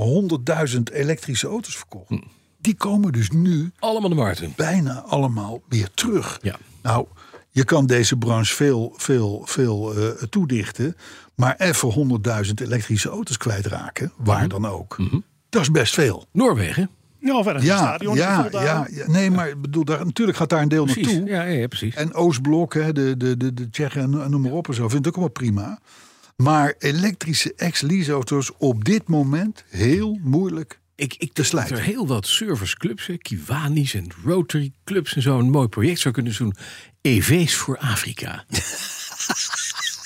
Speaker 2: 100.000 elektrische auto's verkocht.
Speaker 3: Hm.
Speaker 2: Die komen dus nu
Speaker 3: Allemaal de Martin.
Speaker 2: bijna allemaal weer terug.
Speaker 3: Ja.
Speaker 2: Nou, je kan deze branche veel, veel, veel eh, toedichten. Maar even 100.000 elektrische auto's kwijtraken, waar dan ook. Dat is best veel.
Speaker 3: Noorwegen.
Speaker 8: Nou, verder ja,
Speaker 2: Ja,
Speaker 8: stadion.
Speaker 2: ja, ja, ja. Nee, maar ik bedoel, daar, natuurlijk gaat daar een deel
Speaker 3: Precies.
Speaker 2: naartoe.
Speaker 3: Ja, ja, ja, precies.
Speaker 2: En Oostblok, hè, de, de, de, de Tsjechen en en noem maar op en zo, vind ik ook allemaal prima. Maar elektrische ex-lease-auto's op dit moment heel moeilijk.
Speaker 3: Ik, ik
Speaker 2: te
Speaker 3: denk dat
Speaker 2: slijten.
Speaker 3: er heel wat serviceclubs, hè, Kiwanis en Rotary clubs en zo, een mooi project zou kunnen doen. EV's voor [LAUGHS] Afrika.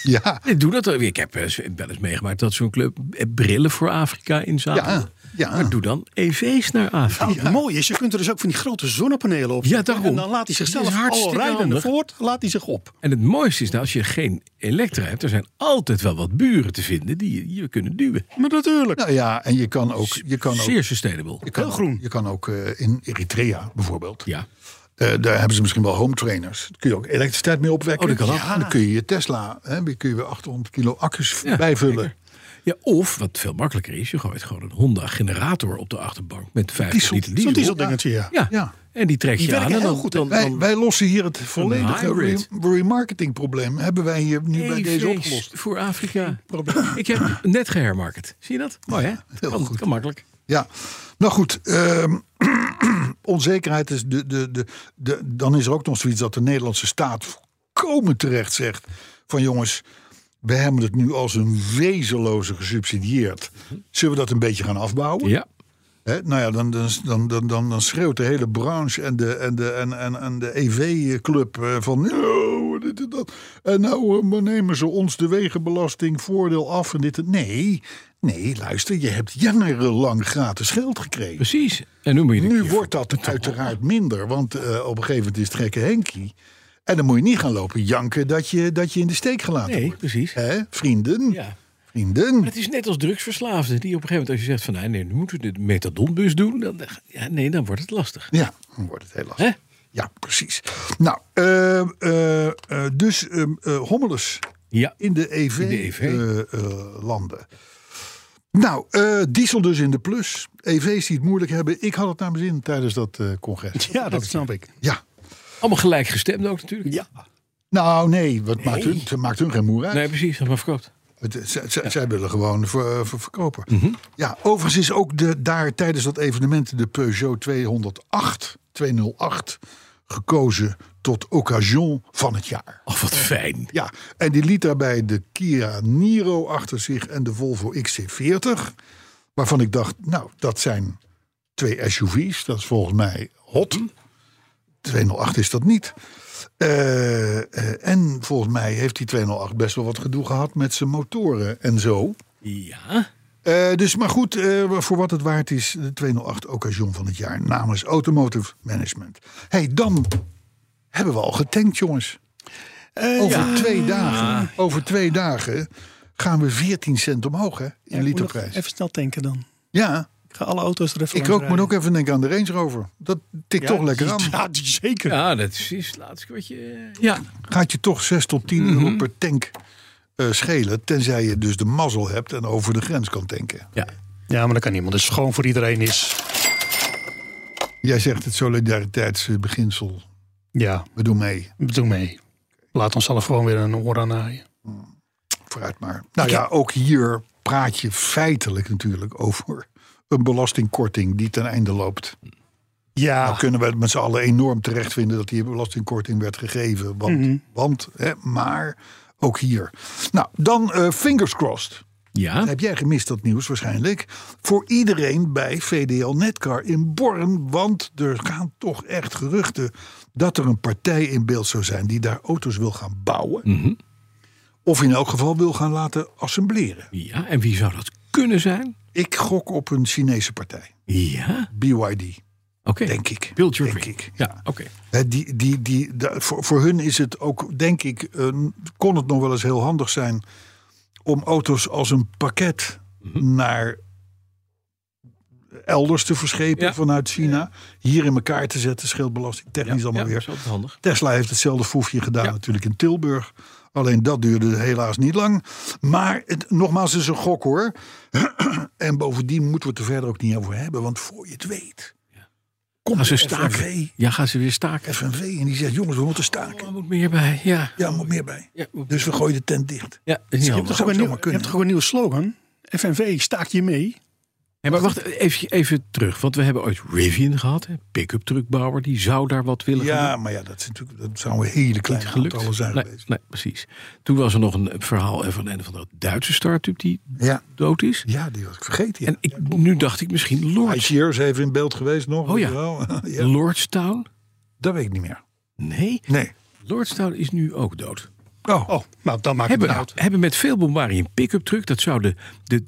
Speaker 2: Ja,
Speaker 3: Ik doe dat al. Ik heb eh, wel eens meegemaakt dat zo'n club eh, brillen voor Afrika inzamelt.
Speaker 2: Ja, ja.
Speaker 3: Maar doe dan EV's naar Afrika.
Speaker 8: Nou, het mooie is, je kunt er dus ook van die grote zonnepanelen op.
Speaker 3: Ja,
Speaker 8: zetten.
Speaker 3: daarom.
Speaker 8: En dan laat hij
Speaker 3: Dat
Speaker 8: zichzelf
Speaker 3: is hartstikke
Speaker 8: al rijdende
Speaker 3: handig.
Speaker 8: voort, laat hij zich op.
Speaker 3: En het mooiste is nou, als je geen elektra hebt, er zijn altijd wel wat buren te vinden die je, je kunnen duwen.
Speaker 8: Maar natuurlijk.
Speaker 2: nou ja, en je kan ook... Je kan ook
Speaker 3: Zeer sustainable.
Speaker 2: je kan,
Speaker 8: heel groen.
Speaker 2: Je kan ook eh, in Eritrea bijvoorbeeld.
Speaker 3: Ja.
Speaker 2: Eh, daar hebben ze misschien wel home trainers. Daar kun je ook elektriciteit mee opwekken.
Speaker 3: Oh, dat kan ook.
Speaker 2: En dan kun je je Tesla, hè, die kun je weer 800 kilo accu's
Speaker 3: Ja,
Speaker 2: bijvullen.
Speaker 3: zeker. Ja, of, wat veel makkelijker is, je gooit gewoon een Honda-generator op de achterbank met 50
Speaker 2: Diesel.
Speaker 3: liter
Speaker 8: Zo'n
Speaker 3: diesel.
Speaker 8: dieseldingetje, ja.
Speaker 3: Ja.
Speaker 2: Ja.
Speaker 3: en die trek je
Speaker 8: werken
Speaker 3: aan. En
Speaker 8: heel
Speaker 3: dan,
Speaker 8: goed, hè?
Speaker 3: dan, dan,
Speaker 2: Wij, wij lossen hier het volledige
Speaker 3: hybrid.
Speaker 2: re- remarketingprobleem. Hebben wij hier nu bij deze
Speaker 3: EV's
Speaker 2: opgelost.
Speaker 3: Voor Afrika. Ik heb net gehermarket. Zie je dat? Mooi hè?
Speaker 2: [LAUGHS] heel
Speaker 3: kan,
Speaker 2: goed.
Speaker 3: kan makkelijk.
Speaker 2: Ja, nou goed. ehm, [CLEARS THROAT] onzekerheid is de, de, de, de. Dan is er ook nog zoiets dat de Nederlandse staat volkomen terecht zegt: van jongens, we hebben het nu als een wezenloze gesubsidieerd. Zullen we dat een beetje gaan afbouwen?
Speaker 3: Ja.
Speaker 2: Hè? Nou ja, dan, dan, dan, dan, dan, dan schreeuwt de hele branche en de, en de, en, en, en de EV-club eh, van. "Oh, dit en dat. En nou eh, maar nemen ze ons de wegenbelasting voordeel af en dit. en- Nee, nee, luister, je hebt jarenlang gratis geld gekregen.
Speaker 3: Precies. En nu moet je de
Speaker 2: Nu
Speaker 3: keer
Speaker 2: wordt dat uiteraard minder, want eh, op een gegeven moment is het gekke Henkie. En dan moet je niet gaan lopen janken dat je, dat je in de steek gelaten
Speaker 3: Nee,
Speaker 2: wordt.
Speaker 3: precies.
Speaker 2: Hè? Vrienden,
Speaker 3: Ja.
Speaker 2: vrienden.
Speaker 3: Maar het is net als drugsverslaafden. Die op een gegeven moment als je zegt van nou, nee, nee nu moeten we de methadonbus doen. Dan, ja, nee, dan wordt het lastig.
Speaker 2: Ja, dan wordt het heel lastig.
Speaker 3: Hè?
Speaker 2: Ja, precies. Nou, eh, eh, eh, dus ehm eh, hommeles
Speaker 3: Ja.
Speaker 2: in de EV,
Speaker 3: In de EV.
Speaker 2: eh, eh, landen. Nou, eh, diesel dus in de plus. EV's die het moeilijk hebben. Ik had het naar mijn zin tijdens dat eh, congres.
Speaker 8: [LAUGHS] Ja, dat snap ik.
Speaker 2: Ja.
Speaker 3: Allemaal gelijk gestemd ook natuurlijk.
Speaker 8: Ja.
Speaker 2: Nou, nee, wat Maakt, hun, het maakt hun geen moer uit.
Speaker 3: Nee, precies. Dat maar verkoopt.
Speaker 2: Het- z- z- Zij willen gewoon ver- ver- verkopen.
Speaker 8: Mhm.
Speaker 2: Ja, overigens is ook de, daar tijdens dat evenement de Peugeot 208, 208 gekozen tot occasion van het jaar.
Speaker 3: Oh, wat fijn.
Speaker 2: Ja, en die liet daarbij de Kia Niro achter zich en de Volvo XC40. Waarvan ik dacht, nou, dat zijn twee SUV's. Dat is volgens mij hot.
Speaker 8: Mhm.
Speaker 2: 208 is dat niet. Eh, eh, en volgens mij heeft die 208 best wel wat gedoe gehad met zijn motoren en zo.
Speaker 3: Ja.
Speaker 2: Eh, dus maar goed, eh, voor wat het waard is, de 208 occasion van het jaar namens Automotive Management. hey, dan hebben we al getankt, jongens.
Speaker 8: Eh,
Speaker 2: over, twee dagen,
Speaker 8: Ah.
Speaker 2: over twee dagen gaan we 14 cent omhoog hè, in
Speaker 8: ik moet nog
Speaker 2: literprijs.
Speaker 8: Even snel tanken dan.
Speaker 2: Ja,
Speaker 8: Ik ga alle auto's er even
Speaker 2: ik
Speaker 8: langs
Speaker 2: ook, moet
Speaker 8: rijden.
Speaker 2: ook even denken aan de Range Rover. Dat tikt toch lekker aan.
Speaker 8: Ja, die zeker.
Speaker 3: Ja, dat is het laatste eh, kwartje. Ja.
Speaker 2: gaat je toch 6 tot 10 euro per tank eh, schelen. Tenzij je dus de mazzel hebt en over de grens kan tanken.
Speaker 3: ja.
Speaker 8: Ja, maar dat kan niemand. Dus gewoon voor iedereen is.
Speaker 2: Jij zegt het solidariteitsbeginsel.
Speaker 8: Ja,
Speaker 2: We doen mee.
Speaker 8: doe mee. Laat ons zelf gewoon weer een oor aan naaien.
Speaker 2: Vooruit maar. Nou ja, ook hier praat je feitelijk natuurlijk over een belastingkorting die ten einde loopt.
Speaker 8: Ja,
Speaker 2: Nou kunnen we het met z'n allen enorm terecht vinden dat die belastingkorting werd gegeven. Want, want hè, maar ook hier. Nou, dan eh fingers crossed.
Speaker 3: Ja.
Speaker 2: Heb jij gemist dat nieuws waarschijnlijk? Voor iedereen bij VDL Netcar in Born. Want er gaan toch echt geruchten dat er een partij in beeld zou zijn die daar auto's wil gaan bouwen. Of in elk geval wil gaan laten assembleren.
Speaker 3: Ja. En wie zou dat kunnen zijn?
Speaker 2: Ik gok op een Chinese partij.
Speaker 3: Ja.
Speaker 2: BYD,
Speaker 3: Oké.
Speaker 2: denk ik.
Speaker 3: Build your
Speaker 2: denk
Speaker 3: dream.
Speaker 2: ik.
Speaker 3: Ja, oké.
Speaker 2: Hè, die, die, die, da- voor, voor hun is het ook, denk ik, een- kon het nog wel eens heel handig zijn om auto's als een pakket
Speaker 3: Mhm.
Speaker 2: naar elders te verschepen
Speaker 3: Ja.
Speaker 2: vanuit China. Hier in elkaar te zetten, scheelt belastingtechnisch allemaal
Speaker 3: ja,
Speaker 2: weer.
Speaker 3: Is altijd handig.
Speaker 2: Tesla heeft hetzelfde foefje gedaan
Speaker 3: Ja.
Speaker 2: natuurlijk in Tilburg. Alleen dat duurde helaas niet lang. Maar het, nogmaals, het is een gok hoor. [CLEARS THROAT] en bovendien moeten we het er verder ook niet over hebben. Want voor je het weet,
Speaker 3: Gaan
Speaker 2: komt
Speaker 3: ze
Speaker 2: de
Speaker 3: staken?
Speaker 2: FNV,
Speaker 3: Ja, gaan ze weer staken?
Speaker 2: FNV en die zegt, jongens, we moeten staken.
Speaker 3: Er moet meer bij. Ja.
Speaker 2: Ja, er moet meer bij.
Speaker 3: Ja, moet-
Speaker 2: Dus we gooien de tent dicht.
Speaker 3: ja dat is
Speaker 2: Je
Speaker 3: niet
Speaker 2: hebt toch
Speaker 3: handig.
Speaker 8: je
Speaker 2: ook
Speaker 8: hebt
Speaker 2: een
Speaker 8: toch
Speaker 2: nieuw-
Speaker 8: ook een nieuwe slogan. FNV, staak je mee.
Speaker 3: Hey, maar wacht even, even terug. Want we hebben ooit Rivian gehad. hè, Pick-up truckbouwer. Die zou daar wat willen gaan doen.
Speaker 2: Ja, maar ja, dat, is natuurlijk, dat zou een hele kleine aantallen zijn
Speaker 3: nee,
Speaker 2: geweest.
Speaker 3: nee, precies. Toen was er nog een verhaal van een van dat Duitse start-up die
Speaker 2: Ja.
Speaker 3: dood is.
Speaker 2: ja, die was ik vergeten. Ja.
Speaker 3: En ik, nu dacht ik misschien Lords,
Speaker 2: Cheers even in beeld geweest nog.
Speaker 3: Oh
Speaker 2: weet
Speaker 3: ja.
Speaker 2: je wel. [LAUGHS] ja.
Speaker 3: Lordstown.
Speaker 2: Dat weet ik niet meer.
Speaker 3: Nee,
Speaker 2: Nee.
Speaker 3: Lordstown is nu ook dood.
Speaker 2: Oh,
Speaker 8: Oh, nou, dan maakt het
Speaker 3: Hebben,
Speaker 8: me uit.
Speaker 3: hebben met veel bombarie een pick-up truck. Dat zou de, de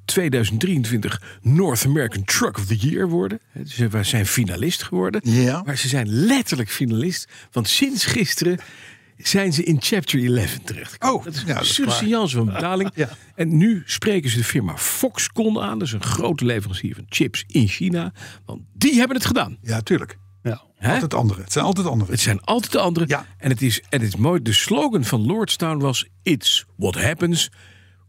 Speaker 3: 2023 North American Truck of the Year worden. He, Ze wa- zijn finalist geworden.
Speaker 2: Ja.
Speaker 3: Maar ze zijn letterlijk finalist. Want sinds gisteren zijn ze in chapter 11 terechtgekomen.
Speaker 2: Oh,
Speaker 3: dat is
Speaker 2: ja,
Speaker 3: een
Speaker 2: dat is
Speaker 3: surseance van
Speaker 2: [LAUGHS]
Speaker 3: betaling. En nu spreken ze de firma Foxconn aan. Dat is een grote leverancier van chips in China. Want die hebben het gedaan.
Speaker 2: ja, tuurlijk.
Speaker 8: Ja.
Speaker 3: hè?
Speaker 2: Altijd andere. Het zijn altijd
Speaker 3: [LAUGHS]
Speaker 2: andere.
Speaker 3: Het zijn altijd de anderen.
Speaker 2: Ja.
Speaker 3: En, het is, en het is mooi. De slogan van Lordstown was: It's what happens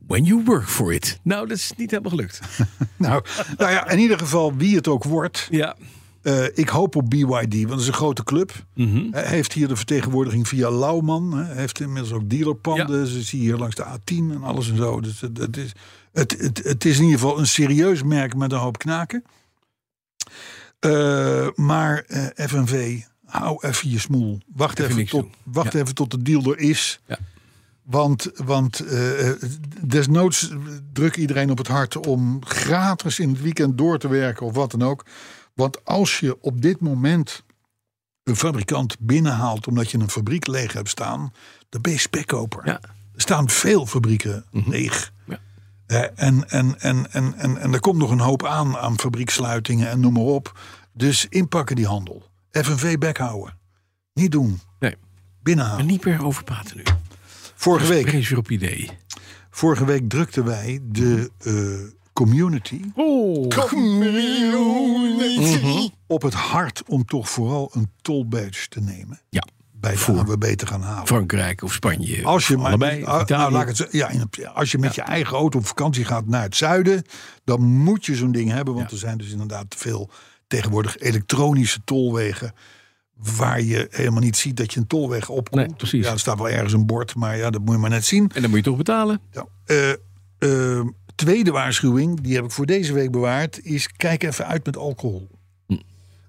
Speaker 3: when you work for it. Nou, dat is niet helemaal
Speaker 2: [LAUGHS]
Speaker 3: gelukt.
Speaker 2: Nou, nou ja, in ieder geval, wie het ook wordt.
Speaker 3: ja.
Speaker 2: eh, ik hoop op BYD, want het is een grote club.
Speaker 3: Mhm.
Speaker 2: Hij heeft hier de vertegenwoordiging via Lauwman. hè, heeft inmiddels ook dealerpanden. Ze zien hier langs de A10 en alles en zo. Dus het, het, is, het, het, het is in ieder geval een serieus merk met een hoop knaken. Eh, maar eh, FNV, hou even je smoel. Wacht,
Speaker 3: Even
Speaker 2: even
Speaker 3: niks
Speaker 2: tot,
Speaker 3: doen.
Speaker 2: wacht
Speaker 3: Ja.
Speaker 2: even tot de deal er is.
Speaker 3: Ja.
Speaker 2: Want, want eh, desnoods druk iedereen op het hart om gratis in het weekend door te werken of wat dan ook. Want als je op dit moment een fabrikant binnenhaalt omdat je een fabriek leeg hebt staan, dan ben je spekkoper.
Speaker 3: Ja.
Speaker 2: Er staan veel fabrieken leeg.
Speaker 3: Ja.
Speaker 2: Eh, en, en, en, en, en, en er komt nog een hoop aan aan fabrieksluitingen en noem maar op. Dus inpakken die handel. FNV bek houden. Niet doen.
Speaker 3: Nee,
Speaker 2: Binnenhalen.
Speaker 3: maar niet meer over praten nu.
Speaker 2: Vorige week.
Speaker 3: Brees weer op ideeën.
Speaker 2: Vorige week drukten wij de eh, community. Op het hart om toch vooral een toll badge te nemen.
Speaker 3: Ja.
Speaker 2: Bij de AWB te gaan halen.
Speaker 3: Frankrijk of Spanje.
Speaker 2: Als je,
Speaker 3: of
Speaker 2: maar,
Speaker 3: eh, allebei,
Speaker 2: ah,
Speaker 3: Italië.
Speaker 2: nou, laat ik het zo- ja, in- als je met je eigen auto op vakantie gaat naar het zuiden, dan moet je zo'n ding hebben. Want er zijn dus inderdaad te veel tegenwoordig elektronische tolwegen. Waar je helemaal niet ziet dat je een tolweg opkomt.
Speaker 3: Nee, precies.
Speaker 2: Ja, er staat wel ergens een bord, maar ja, dat moet je maar net zien.
Speaker 3: En dan moet je toch betalen.
Speaker 2: Ja. Eh, eh, tweede waarschuwing, die heb ik voor deze week bewaard, is kijk even uit met alcohol.
Speaker 3: Hm.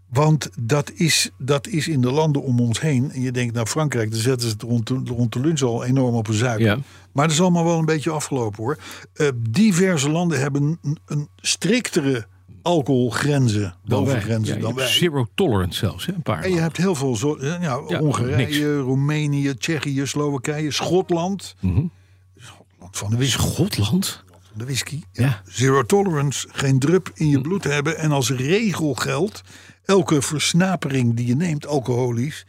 Speaker 2: Want dat is, dat is in de landen om ons heen. En je denkt, nou Frankrijk, daar zetten ze het rond, de- rond de lunch al enorm op een zuiker.
Speaker 3: Ja.
Speaker 2: Maar dat is allemaal wel een beetje afgelopen hoor. Eh, diverse landen hebben een, een striktere alcoholgrenzen, bovengrenzen
Speaker 3: Ja, je
Speaker 2: dan
Speaker 3: hebt
Speaker 2: wij.
Speaker 3: Zero tolerance zelfs, hè, een paar.
Speaker 2: En je
Speaker 3: landen.
Speaker 2: hebt heel veel, zo, eh, ja,
Speaker 3: Ja,
Speaker 2: Hongarije,
Speaker 3: niks.
Speaker 2: Roemenië, Tsjechië, Slowakije, Schotland.
Speaker 3: Mhm.
Speaker 2: Schotland van de whisky.
Speaker 3: Schotland?
Speaker 2: van de whisky. Ja.
Speaker 3: Ja.
Speaker 2: Zero tolerance, geen drup in
Speaker 3: Mhm.
Speaker 2: je bloed hebben. En als regel geldt, elke versnapering die je neemt, alcoholisch,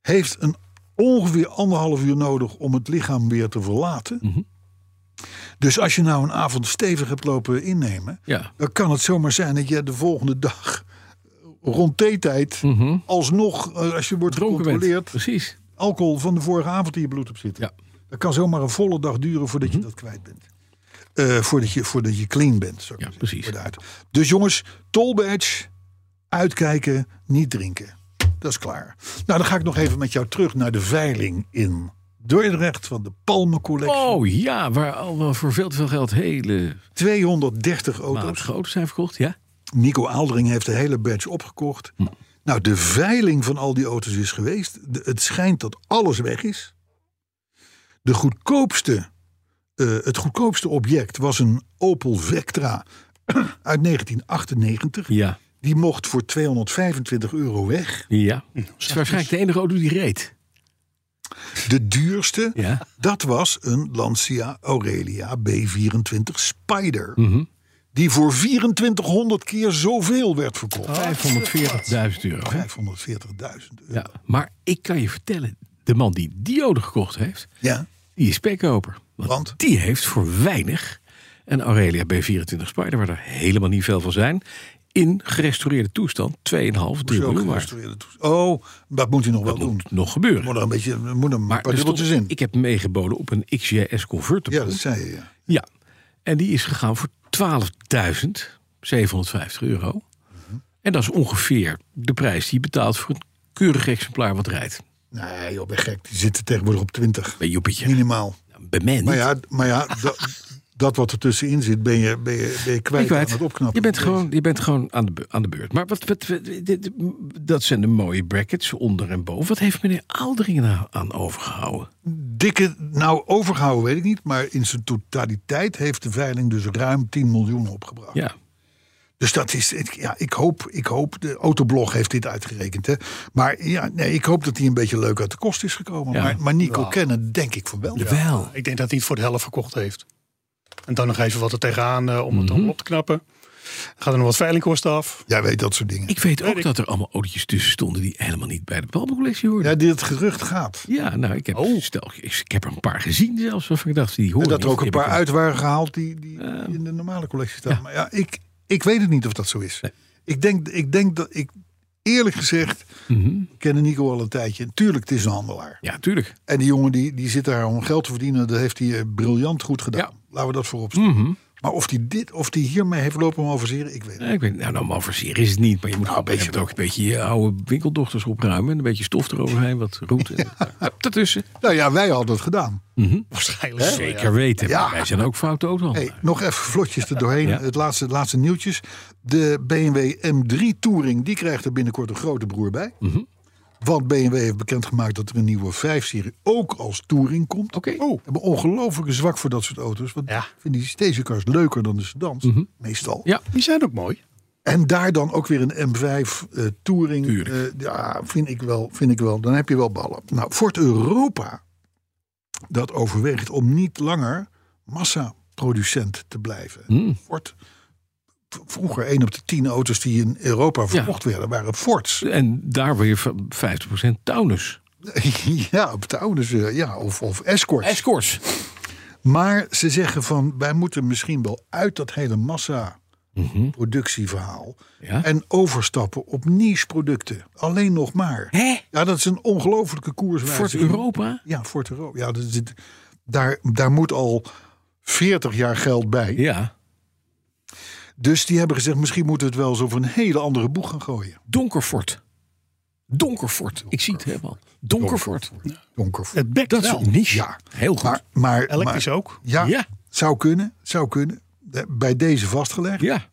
Speaker 2: heeft een ongeveer anderhalf uur nodig om het lichaam weer te verlaten.
Speaker 3: Mhm.
Speaker 2: Dus als je nou een avond stevig hebt lopen innemen,
Speaker 3: Ja.
Speaker 2: dan kan het zomaar zijn dat je de volgende dag rond theetijd alsnog, eh, als je wordt
Speaker 3: Mhm. Dronken bent.
Speaker 2: gecontroleerd,
Speaker 3: Precies.
Speaker 2: alcohol van de vorige avond in je bloed op zit.
Speaker 3: Ja. Mhm.
Speaker 2: Dat kan zomaar een volle dag duren voordat je dat kwijt bent. Eh, voordat, je, voordat je clean bent. zou ik
Speaker 3: Ja,
Speaker 2: maar zeggen,
Speaker 3: precies.
Speaker 2: vooruit. Dus jongens, toll badge, uitkijken, niet drinken. Dat is klaar. Nou, dan ga ik nog even met jou terug naar de veiling in Dordrecht van de Palmen Collectie.
Speaker 3: Oh ja, waar al wel voor veel te veel geld hele
Speaker 2: 230
Speaker 3: maat
Speaker 2: auto's.
Speaker 3: groot zijn verkocht. Ja.
Speaker 2: Nico Aaldering heeft de hele badge opgekocht. Nou, de veiling van al die auto's is geweest. De- het schijnt dat alles weg is. De goedkoopste, eh, het goedkoopste object was een Opel Vectra [CLEARS THROAT] uit 1998.
Speaker 3: Ja.
Speaker 2: Die mocht voor 225 euro weg.
Speaker 3: Ja. Het is waarschijnlijk de enige auto die reed.
Speaker 2: De duurste,
Speaker 3: Ja.
Speaker 2: dat was een Lancia Aurelia B24 Spider.
Speaker 3: Mhm.
Speaker 2: Die voor 2400 keer zoveel werd
Speaker 3: Oh.
Speaker 2: verkocht.
Speaker 3: 540.000 euro. hè.
Speaker 2: 540.000 euro.
Speaker 3: Ja. Maar ik kan je vertellen, de man die die auto gekocht heeft,
Speaker 2: ja.
Speaker 3: die is spekkoper. Want,
Speaker 2: Want?
Speaker 3: die heeft voor weinig een Aurelia B24 Spider, waar er helemaal niet veel van zijn, in gerestaureerde toestand 2,5, 3
Speaker 2: Zo
Speaker 3: miljoen waard.
Speaker 2: gerestaureerde toest- Oh, dat moet hij nog wel
Speaker 3: Dat
Speaker 2: doen.
Speaker 3: moet nog gebeuren.
Speaker 2: Moet er een beetje, er moet een
Speaker 3: Maar
Speaker 2: paar
Speaker 3: er stond-
Speaker 2: dubbeltjes in.
Speaker 3: ik heb meegeboden op een XJS convertible.
Speaker 2: ja, dat zei je. Ja.
Speaker 3: Ja, en die is gegaan voor 12.750 euro.
Speaker 2: Mhm.
Speaker 3: En dat is ongeveer de prijs die je betaalt voor een keurig exemplaar wat rijdt.
Speaker 2: Nee, joh, ben gek. Die zitten tegenwoordig op 20.
Speaker 3: Bij Joepetje.
Speaker 2: Minimaal.
Speaker 3: Bij mij niet.
Speaker 2: Maar ja, maar ja dat, dat wat er tussenin zit, ben je, ben je, ben je
Speaker 3: Ben je
Speaker 2: kwijt,
Speaker 3: kwijt.
Speaker 2: aan het opknappen.
Speaker 3: Je bent gewoon, je bent gewoon aan, de, bu- aan de beurt. Maar wat, wat, wat- dit- dat zijn de mooie brackets onder en boven. Wat heeft meneer Aaldering nou aan overgehouden?
Speaker 2: Dikke, nou overgehouden weet ik niet, maar in zijn totaliteit heeft de veiling dus ruim 10 miljoen opgebracht.
Speaker 3: Ja,
Speaker 2: Dus dat is, ik- ja, ik hoop, ik hoop, de autoblog heeft dit uitgerekend. Hè. Maar ja, nee, ik hoop dat hij een beetje leuk uit de kost is gekomen.
Speaker 3: Ja.
Speaker 2: Maar, maar Nico kennen, denk ik van wel.
Speaker 3: wel.
Speaker 8: Ik denk dat hij het voor de helft verkocht heeft. En dan nog even wat er tegenaan eh, om het
Speaker 7: Mhm.
Speaker 8: dan op te knappen. Gaat er nog wat veilingkosten af. [LAUGHS]
Speaker 2: Jij weet dat soort dingen.
Speaker 3: Ik weet ook dat er allemaal autootjes tussen stonden die helemaal niet bij de balmencollectie hoorden.
Speaker 2: Ja, die het gerucht gaat.
Speaker 3: Ja, nou, ik heb, stel, ik, ik heb er een paar gezien zelfs. Waarvan ik dacht, die horen
Speaker 2: Oh. En dat er
Speaker 3: niet. Ehm,
Speaker 2: ook een
Speaker 3: Die heb
Speaker 2: paar
Speaker 3: ik
Speaker 2: uit waren gehaald die, die, die in de normale collectie staan. Maar ja, ik, ik weet het niet of dat zo is.
Speaker 3: Nee.
Speaker 2: Ik, denk, ik denk dat ik, eerlijk gezegd,
Speaker 3: Mhm.
Speaker 2: ik ken Nico al een tijdje. En tuurlijk, het is een handelaar.
Speaker 3: Ja, tuurlijk.
Speaker 2: En die jongen die, die zit daar om geld te verdienen, dat heeft hij eh, briljant goed gedaan.
Speaker 3: Ja. Mhm.
Speaker 2: Laten we dat voorop stellen. Maar of die, dit, of die hiermee heeft lopen malverseren, ik weet het
Speaker 3: Ja, ik weet, nou, nou, malverseren is het niet. Maar je
Speaker 2: Nou,
Speaker 3: moet, gewoon, je moet ook een beetje je oude winkeldochters opruimen. En een beetje stof eroverheen, wat
Speaker 2: [LAUGHS]
Speaker 3: roet. en- Hup, Daartussen.
Speaker 2: niet. Nou ja, wij hadden het gedaan.
Speaker 8: Waarschijnlijk. wel, ja.
Speaker 3: Zeker weten.
Speaker 2: Ja.
Speaker 3: maar Wij zijn ook foute autohandelaar.
Speaker 2: Hey, nog even vlotjes er doorheen.
Speaker 3: Ja.
Speaker 2: Het laatste, laatste nieuwtjes. De BMW M3 Touring, die krijgt er binnenkort een grote broer bij.
Speaker 3: Mhm.
Speaker 2: Want BMW heeft bekendgemaakt dat er een nieuwe 5-serie ook als Touring komt.
Speaker 3: Oké.
Speaker 2: Oh. Ik heb een ongelofelijke zwak voor dat soort auto's. Want
Speaker 8: Ja.
Speaker 2: ik vind die stationcars leuker dan de sedans,
Speaker 3: Mhm.
Speaker 2: meestal.
Speaker 3: Ja.
Speaker 8: Die zijn ook mooi.
Speaker 2: En daar dan ook weer een M5 eh, Touring.
Speaker 3: Tuurlijk.
Speaker 2: eh, ja, vind ik, wel, vind ik wel. Dan heb je wel ballen. Nou, Ford Europa, dat overweegt om niet langer massaproducent te blijven. Ford, v- vroeger één op de tien auto's die in Europa verkocht werden, waren Fords. [LAUGHS]
Speaker 3: En daar weer van 50% Taunus.
Speaker 2: ja, op de ouders, eh, ja, of, of Escorts.
Speaker 3: Escorts.
Speaker 2: Maar ze zeggen van wij moeten misschien wel uit dat hele massa productieverhaal
Speaker 3: Mhm. Ja.
Speaker 2: en overstappen op niche producten. Alleen nog maar.
Speaker 3: Hè?
Speaker 2: Ja, dat is een ongelofelijke koerswijze.
Speaker 3: Fort Europa?
Speaker 2: Ja, Fort Europa. Ja, dat is het- daar, daar moet al 40 jaar geld bij.
Speaker 3: Ja.
Speaker 2: Dus die hebben gezegd misschien moeten we het wel eens over een hele andere boeg gaan gooien.
Speaker 3: Donkerfort. Donkerfort. Ik zie het helemaal. Donkerfort.
Speaker 2: Donker.
Speaker 8: Het bekt
Speaker 3: Dat is
Speaker 8: wel.
Speaker 3: een niche.
Speaker 2: Ja.
Speaker 3: Heel goed.
Speaker 2: Maar, maar,
Speaker 8: Elektrisch
Speaker 2: maar-
Speaker 8: ook.
Speaker 2: Ja,
Speaker 3: Ja.
Speaker 7: Zou kunnen, zou kunnen. Eh, Bij deze vastgelegd.
Speaker 3: Ja.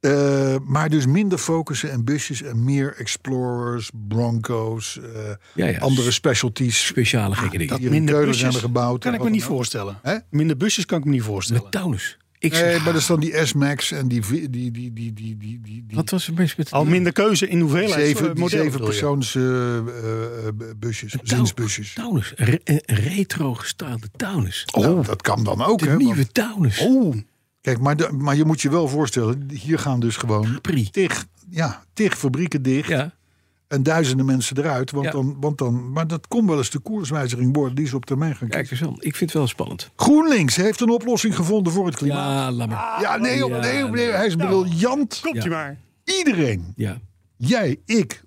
Speaker 7: Eh, maar dus minder focussen en busjes en meer Explorers, Broncos, eh,
Speaker 3: Ja, ja.
Speaker 7: andere specialties.
Speaker 3: Speciale
Speaker 2: Ah,
Speaker 3: gekke dingen.
Speaker 7: dat hier in Keulen zijn er gebouwd.
Speaker 8: kan
Speaker 7: en
Speaker 8: ik me
Speaker 7: wat
Speaker 8: niet
Speaker 7: dan ook.
Speaker 8: voorstellen.
Speaker 7: Hè?
Speaker 8: Minder busjes kan ik me niet voorstellen.
Speaker 3: Met Taunus. Ik
Speaker 7: Nee,
Speaker 3: zeg,
Speaker 7: maar dat is dan die S-Max en die, vi- die, die, die, die, die, die, die
Speaker 3: wat was het best met
Speaker 8: Al minder keuze in hoeveelheid
Speaker 7: zeven,
Speaker 8: zeven,
Speaker 7: die
Speaker 8: modellen.
Speaker 7: zeven
Speaker 8: bedoel je?
Speaker 7: persoons eh, eh, eh, busjes,
Speaker 3: Tau-
Speaker 7: zinsbusjes.
Speaker 3: Taunus. Een re- Een retro gestaalde Taunus.
Speaker 7: Nou, dat kan dan ook.
Speaker 3: De
Speaker 7: hè, want-
Speaker 3: nieuwe Taunus.
Speaker 7: Oeh. Kijk, maar, de- maar je moet je wel voorstellen, hier gaan dus gewoon
Speaker 3: Capri.
Speaker 7: tig, ja, tig fabrieken dicht
Speaker 3: Ja.
Speaker 7: en duizenden mensen eruit. Want
Speaker 3: Ja.
Speaker 7: dan, want dan, maar dat kon wel eens de koerswijziging worden die ze op termijn gaan krijgen.
Speaker 3: Kijk eens aan. Ik vind het wel spannend.
Speaker 7: GroenLinks heeft een oplossing gevonden voor het klimaat.
Speaker 3: Ja, laat maar.
Speaker 7: Ja, nee, joh,
Speaker 3: ja,
Speaker 7: nee, joh, nee,
Speaker 3: nee.
Speaker 7: hij is briljant.
Speaker 8: Komt u maar.
Speaker 7: Iedereen,
Speaker 3: Ja.
Speaker 7: jij, ik,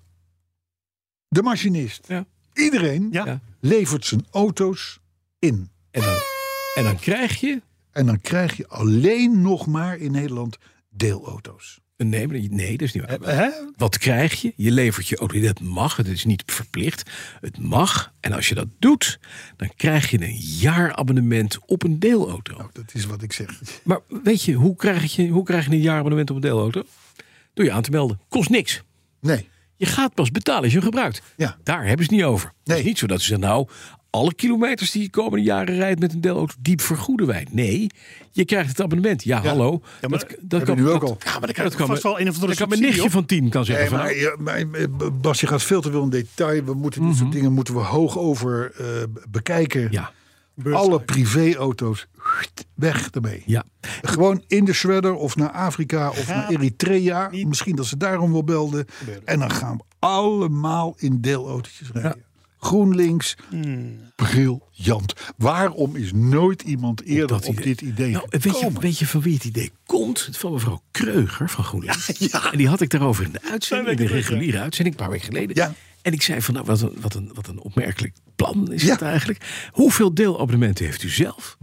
Speaker 7: de machinist,
Speaker 3: Ja.
Speaker 7: iedereen
Speaker 8: Ja.
Speaker 3: Ja.
Speaker 7: levert zijn auto's in.
Speaker 3: En dan, en dan krijg je...
Speaker 7: En dan krijg je alleen nog maar in Nederland deelauto's.
Speaker 3: Nee, maar- nee, dat is niet waar.
Speaker 8: Hè?
Speaker 3: Wat krijg je? Je levert je auto. Dat mag, het is niet verplicht. Het mag. En als je dat doet, dan krijg je een jaarabonnement op een deelauto.
Speaker 7: Dat is wat ik zeg.
Speaker 3: Maar weet je, hoe krijg je, hoe krijg je een jaarabonnement op een deelauto? Door je aan te melden. Kost niks.
Speaker 7: Nee.
Speaker 3: Je gaat pas betalen als je hem gebruikt.
Speaker 7: Ja.
Speaker 3: Daar hebben ze het niet over. Het is
Speaker 7: Nee.
Speaker 3: niet zo dat ze zeggen, nou, alle kilometers die je komende jaren rijdt met een deelauto, diep vergoeden wij. Nee, je krijgt het abonnement. Ja, hallo.
Speaker 8: maar
Speaker 3: dat, dat
Speaker 7: we nu ook
Speaker 3: dat-
Speaker 7: al.
Speaker 3: Ja, maar dat kan,
Speaker 8: krijg
Speaker 3: dat
Speaker 8: je
Speaker 3: kan,
Speaker 8: vast wel een of andere
Speaker 3: dat kan mijn
Speaker 8: subsidie,
Speaker 3: nichtje van tien kan zeggen
Speaker 7: Nee,
Speaker 3: van, nou,
Speaker 7: maar, ja, maar, eh, Bas, je gaat veel te veel in detail. We moeten dit soort dingen moeten we hoog over eh, bekijken.
Speaker 3: Mhm. Ja,
Speaker 7: Alle privéauto's sst, weg ermee.
Speaker 3: ja.
Speaker 7: Gewoon in de shredder of naar Afrika of naar Eritrea. Misschien dat ze daarom wel belden. En dan gaan we allemaal in deelautootjes rijden. GroenLinks, briljant. Waarom is nooit iemand eerder
Speaker 3: dat
Speaker 7: op
Speaker 3: idee.
Speaker 7: dit idee
Speaker 3: Nou, weet, je,
Speaker 7: gekomen?
Speaker 3: weet je van wie het idee komt? Van mevrouw Kreuger van GroenLinks. En die had ik daarover in de uitzending, in de reguliere uitzending, een paar weken geleden.
Speaker 7: Ja.
Speaker 3: En ik zei van, nou, wat een, wat een, wat een opmerkelijk plan is
Speaker 7: Ja.
Speaker 3: het eigenlijk. Hoeveel deelabonnementen heeft u zelf?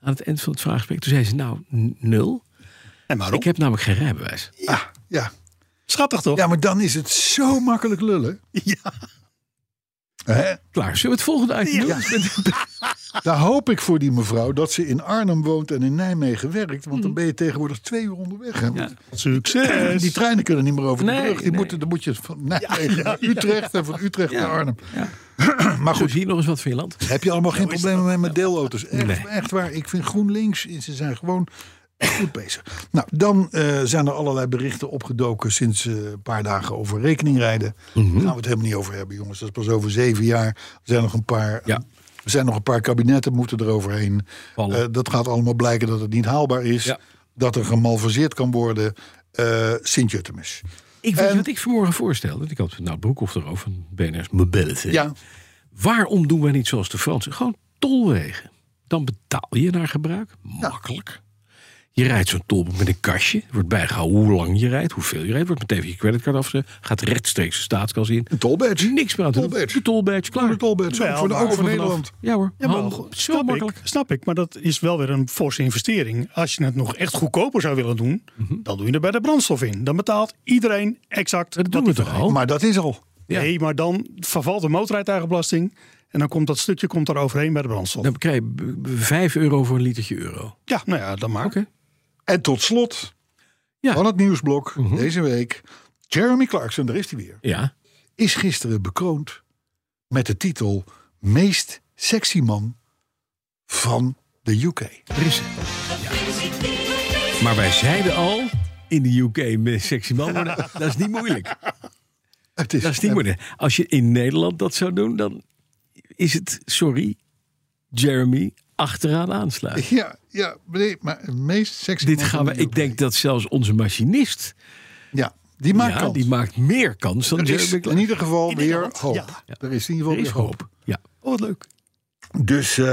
Speaker 3: Aan het eind van het vraaggesprek. Toen zei ze, nou, n- nul.
Speaker 8: En waarom?
Speaker 3: Ik heb namelijk geen rijbewijs.
Speaker 7: Ah, ja.
Speaker 8: Schattig toch?
Speaker 7: ja, maar dan is het zo makkelijk lullen.
Speaker 8: Ja.
Speaker 7: Hè?
Speaker 3: Klaar, zullen we het volgende item doen? Dus
Speaker 7: Daar hoop ik voor die mevrouw dat ze in Arnhem woont en in Nijmegen werkt. Want dan ben je tegenwoordig twee uur onderweg. Hè? Want
Speaker 8: Succes.
Speaker 7: Die treinen kunnen niet meer over de
Speaker 3: dus- Nee,
Speaker 7: brug. Die
Speaker 3: nee.
Speaker 7: moeten, dan moet je van [LAUGHS] Nijmegen naar Utrecht en van Utrecht naar Arnhem. [CLEARS THROAT] maar
Speaker 3: Goed,
Speaker 7: goed,
Speaker 3: zie je nog eens wat van je land.
Speaker 7: heb je allemaal geen problemen mee met deelauto's? Echt,
Speaker 3: Nee.
Speaker 7: echt waar, ik vind GroenLinks, ze zijn gewoon goed bezig. Nou, dan eh, zijn er allerlei berichten opgedoken sinds eh, een paar dagen over rekeningrijden.
Speaker 3: Mhm.
Speaker 7: Daar gaan we het helemaal niet over hebben, jongens. Dat is pas over zeven jaar. Er zijn nog een paar...
Speaker 3: Ja.
Speaker 7: Er zijn nog een paar kabinetten moeten eroverheen.
Speaker 3: Vallen.
Speaker 7: Eh, dat gaat allemaal blijken dat het niet haalbaar is.
Speaker 3: Ja.
Speaker 7: Dat er gemalverseerd kan worden. Eh Sint-Jutemus.
Speaker 3: Ik
Speaker 7: Ehm,
Speaker 3: weet je wat ik vanmorgen voorstelde. Ik had nou Broekhoff erover, van BNR's Mobility.
Speaker 7: Ja,
Speaker 3: Waarom doen wij niet zoals de Fransen? Gewoon tolwegen. Dan betaal je naar gebruik. Makkelijk. Je rijdt zo'n tolboek met een kastje. Er wordt bijgehouden hoe lang je rijdt, hoeveel je rijdt. Wordt meteen van je creditcard afgezet. Gaat rechtstreeks de staatskas in.
Speaker 7: een tolbadge.
Speaker 3: Niks meer aan te doen.
Speaker 7: Tolbadge.
Speaker 3: De tolbadge, klaar.
Speaker 7: Een tolbadge.
Speaker 8: Wel,
Speaker 7: ook voor de
Speaker 8: maar
Speaker 7: ook voor
Speaker 3: Vanaf-
Speaker 7: Nederland.
Speaker 3: Ja hoor.
Speaker 8: Ja, maar
Speaker 3: Handig.
Speaker 8: goed,
Speaker 3: Zo
Speaker 8: snap ik,
Speaker 3: makkelijk.
Speaker 8: snap ik, maar dat is wel weer een forse investering. Als je het nog echt goedkoper zou willen doen, dan doe je er bij de brandstof in. Dan betaalt iedereen exact.
Speaker 3: Mhm. Dat doen
Speaker 8: wat
Speaker 3: we
Speaker 8: hij
Speaker 3: toch al?
Speaker 7: Maar dat is al.
Speaker 3: Ja.
Speaker 8: Nee, maar dan vervalt de motorrijtuigenbelasting en dan komt dat stukje komt er overheen bij de brandstof.
Speaker 3: Dan krijg je b- b- 5 euro voor een litertje euro.
Speaker 8: Ja, nou ja, dan maar.
Speaker 3: Oké.
Speaker 7: En tot slot
Speaker 3: Ja. Mhm.
Speaker 7: van het nieuwsblok deze week. Jeremy Clarkson, daar is hij weer.
Speaker 3: Ja.
Speaker 7: Is gisteren bekroond met de titel Meest Sexy Man van de UK.
Speaker 3: Er is het. Ja. Maar wij zeiden al, in de UK met sexy man worden, [LAUGHS] dat is niet moeilijk.
Speaker 7: Het is,
Speaker 3: Dat is niet moeilijk. Als je in Nederland dat zou doen, dan is het, sorry, Jeremy achteraan aansluiten.
Speaker 7: Ja, ja nee, maar het meest sexy
Speaker 3: Dit
Speaker 7: man
Speaker 3: gaan
Speaker 7: van
Speaker 3: we,
Speaker 7: de
Speaker 3: ik
Speaker 7: UK.
Speaker 3: denk dat zelfs onze machinist,
Speaker 7: Ja, die maakt
Speaker 3: ja,
Speaker 7: kans.
Speaker 3: die maakt meer kans dan
Speaker 7: Er is
Speaker 3: Jeremy
Speaker 7: in
Speaker 3: Clarkson.
Speaker 7: ieder geval weer
Speaker 8: Nederland,
Speaker 7: hoop.
Speaker 8: ja.
Speaker 7: Er is in ieder
Speaker 3: Er
Speaker 7: geval
Speaker 3: is
Speaker 7: weer hoop.
Speaker 3: hoop. Ja.
Speaker 8: Oh, wat leuk.
Speaker 7: Dus eh,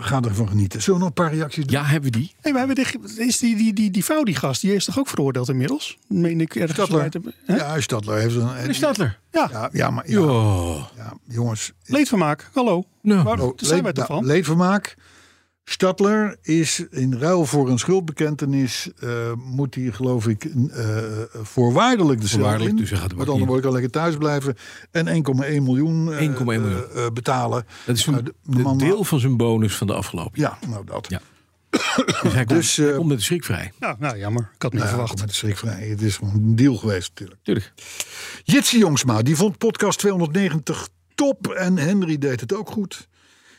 Speaker 7: ga ervan genieten. Zullen we nog een paar reacties doen?
Speaker 3: ja, hebben we die?
Speaker 8: Hey, maar hebben die, is die, die, die, die Faudi gast, die is toch ook veroordeeld inmiddels? Meen ik ergens
Speaker 7: Stadler.
Speaker 8: uit te- hè?
Speaker 7: Ja, Stadler heeft een...
Speaker 3: De Stadler.
Speaker 8: Ja,
Speaker 7: Ja, ja, maar ja,
Speaker 3: Ja.
Speaker 7: ja, jongens.
Speaker 8: leedvermaak. Hallo.
Speaker 3: Nou.
Speaker 8: Waar
Speaker 7: Oh,
Speaker 8: zijn wij
Speaker 7: leed-
Speaker 8: toch
Speaker 7: nou,
Speaker 8: van?
Speaker 7: leedvermaak. Stadler is in ruil voor een schuldbekentenis... eh, moet hij, geloof ik, n- eh, voorwaardelijk de cel
Speaker 3: Voorwaardelijk,
Speaker 7: in.
Speaker 3: dus hij gaat er
Speaker 7: Met
Speaker 3: ook
Speaker 7: andere
Speaker 3: in.
Speaker 7: woorden, kan lekker thuis blijven. En 1,1 miljoen, eh,
Speaker 3: 1,1 miljoen.
Speaker 7: eh, eh, betalen.
Speaker 3: Dat is
Speaker 7: Nou,
Speaker 3: een
Speaker 7: de- de man-
Speaker 3: deel van zijn bonus van de afgelopen.
Speaker 7: Ja, nou dat.
Speaker 3: Ja. Dus hij komt,
Speaker 7: Dus, eh,
Speaker 3: hij komt met de schrik vrij.
Speaker 8: Ja, nou jammer. Ik had niet
Speaker 7: Nou,
Speaker 8: verwacht.
Speaker 7: met de schrik vrij. Het is gewoon een deal geweest natuurlijk.
Speaker 3: Tuurlijk.
Speaker 7: Jitsi Jongsma, die vond podcast 290 top en Henry deed het ook goed.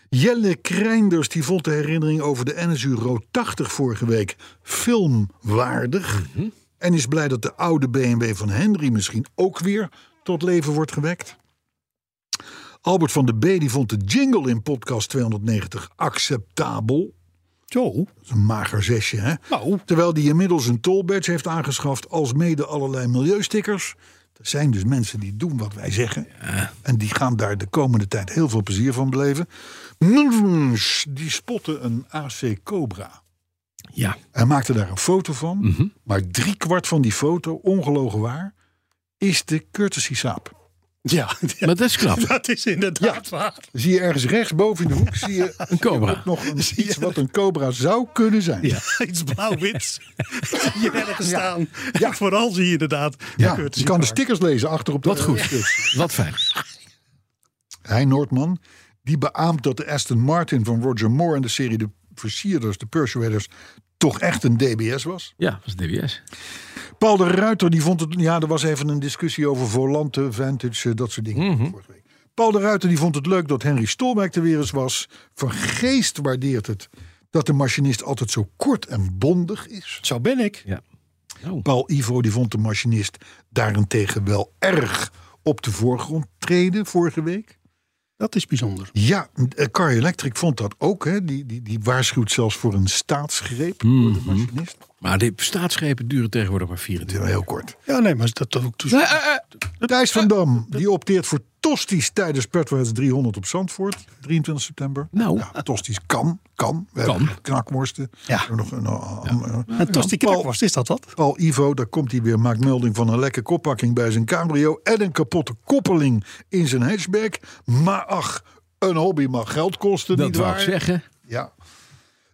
Speaker 7: Jelle Krijnders die vond de herinnering over de NSU Road 80 vorige week filmwaardig. En is blij dat de oude BMW van Henry misschien ook weer tot leven wordt gewekt. Albert van de B die vond de jingle in podcast 290 acceptabel.
Speaker 8: Zo.
Speaker 7: Dat is een mager zesje, hè?
Speaker 8: Nou,
Speaker 7: Terwijl die inmiddels een tollbadge heeft aangeschaft als mede allerlei milieustickers. Er zijn dus mensen die doen wat wij zeggen. En die gaan daar de komende tijd heel veel plezier van beleven. Mens, Die spotten een AC Cobra.
Speaker 3: Ja.
Speaker 7: Hij maakte daar een foto van.
Speaker 3: Mhm.
Speaker 7: Maar driekwart van die foto, ongelogen waar, is de courtesy saap.
Speaker 8: [LAUGHS] ja,
Speaker 3: Maar dat is
Speaker 7: [LAUGHS]
Speaker 3: knap.
Speaker 8: dat is inderdaad waar.
Speaker 7: Zie je ergens rechtsboven in de hoek, zie je
Speaker 3: [LAUGHS] Een cobra.
Speaker 7: nog een, iets wat een cobra zou kunnen zijn.
Speaker 8: [LAUGHS] Iets blauw-wits. zie je ergens
Speaker 7: Ja.
Speaker 8: staan.
Speaker 7: Ja.
Speaker 8: En vooral zie je inderdaad.
Speaker 7: Ja,
Speaker 8: Kurt
Speaker 7: je kan de
Speaker 8: Ziepaar.
Speaker 7: stickers lezen achter op de
Speaker 3: Wat goed.
Speaker 7: stickers.
Speaker 3: Wat fijn.
Speaker 7: Hij Noordman, die beaamt dat de Aston Martin van Roger Moore en de serie De Versierders, de Persuaders, toch echt een DBS was.
Speaker 3: Ja, dat is DBS.
Speaker 7: Paul de Ruiter, die vond het. Ja, er was even een discussie over volanten, vintage, eh, dat soort dingen. vorige week. Paul de Ruiter, die vond het leuk dat Henry Stolwijk er weer eens was. Van geest waardeert het dat de machinist altijd zo kort en bondig is.
Speaker 8: dus- Zo ben ik.
Speaker 3: Ja. Nou,
Speaker 7: Paul Ivo, die vond de machinist daarentegen wel erg op de voorgrond treden vorige week.
Speaker 8: Dat is bijzonder.
Speaker 7: Ja, eh, Car Electric vond dat ook. Hè? Die, die, die waarschuwt zelfs voor een staatsgreep door
Speaker 8: Mhm.
Speaker 7: de machinist.
Speaker 3: maar de staatsschepen duren tegenwoordig maar 24
Speaker 7: Heel kort.
Speaker 8: Ja, nee, maar dat ook. Dus,
Speaker 7: Thijs van Dam, die opteert voor Tosties tijdens Petroheads 300 op Zandvoort. 23 september.
Speaker 3: Nou.
Speaker 7: Ja, Tosties kan, kan. We
Speaker 3: Kan.
Speaker 7: hebben knakworsten.
Speaker 8: Ja.
Speaker 7: We hebben Nog, een- eh, een- een-
Speaker 8: en Tosti
Speaker 7: Paul-
Speaker 8: Knakworst, is dat wat?
Speaker 7: Paul Ivo, daar komt hij weer, maakt melding van een lekke koppakking bij zijn cabrio... en een kapotte koppeling in zijn hatchback. Maar ach, een hobby mag geld kosten,
Speaker 3: Dat
Speaker 7: niet
Speaker 3: wou
Speaker 7: waar?
Speaker 3: ik zeggen.
Speaker 7: Ja.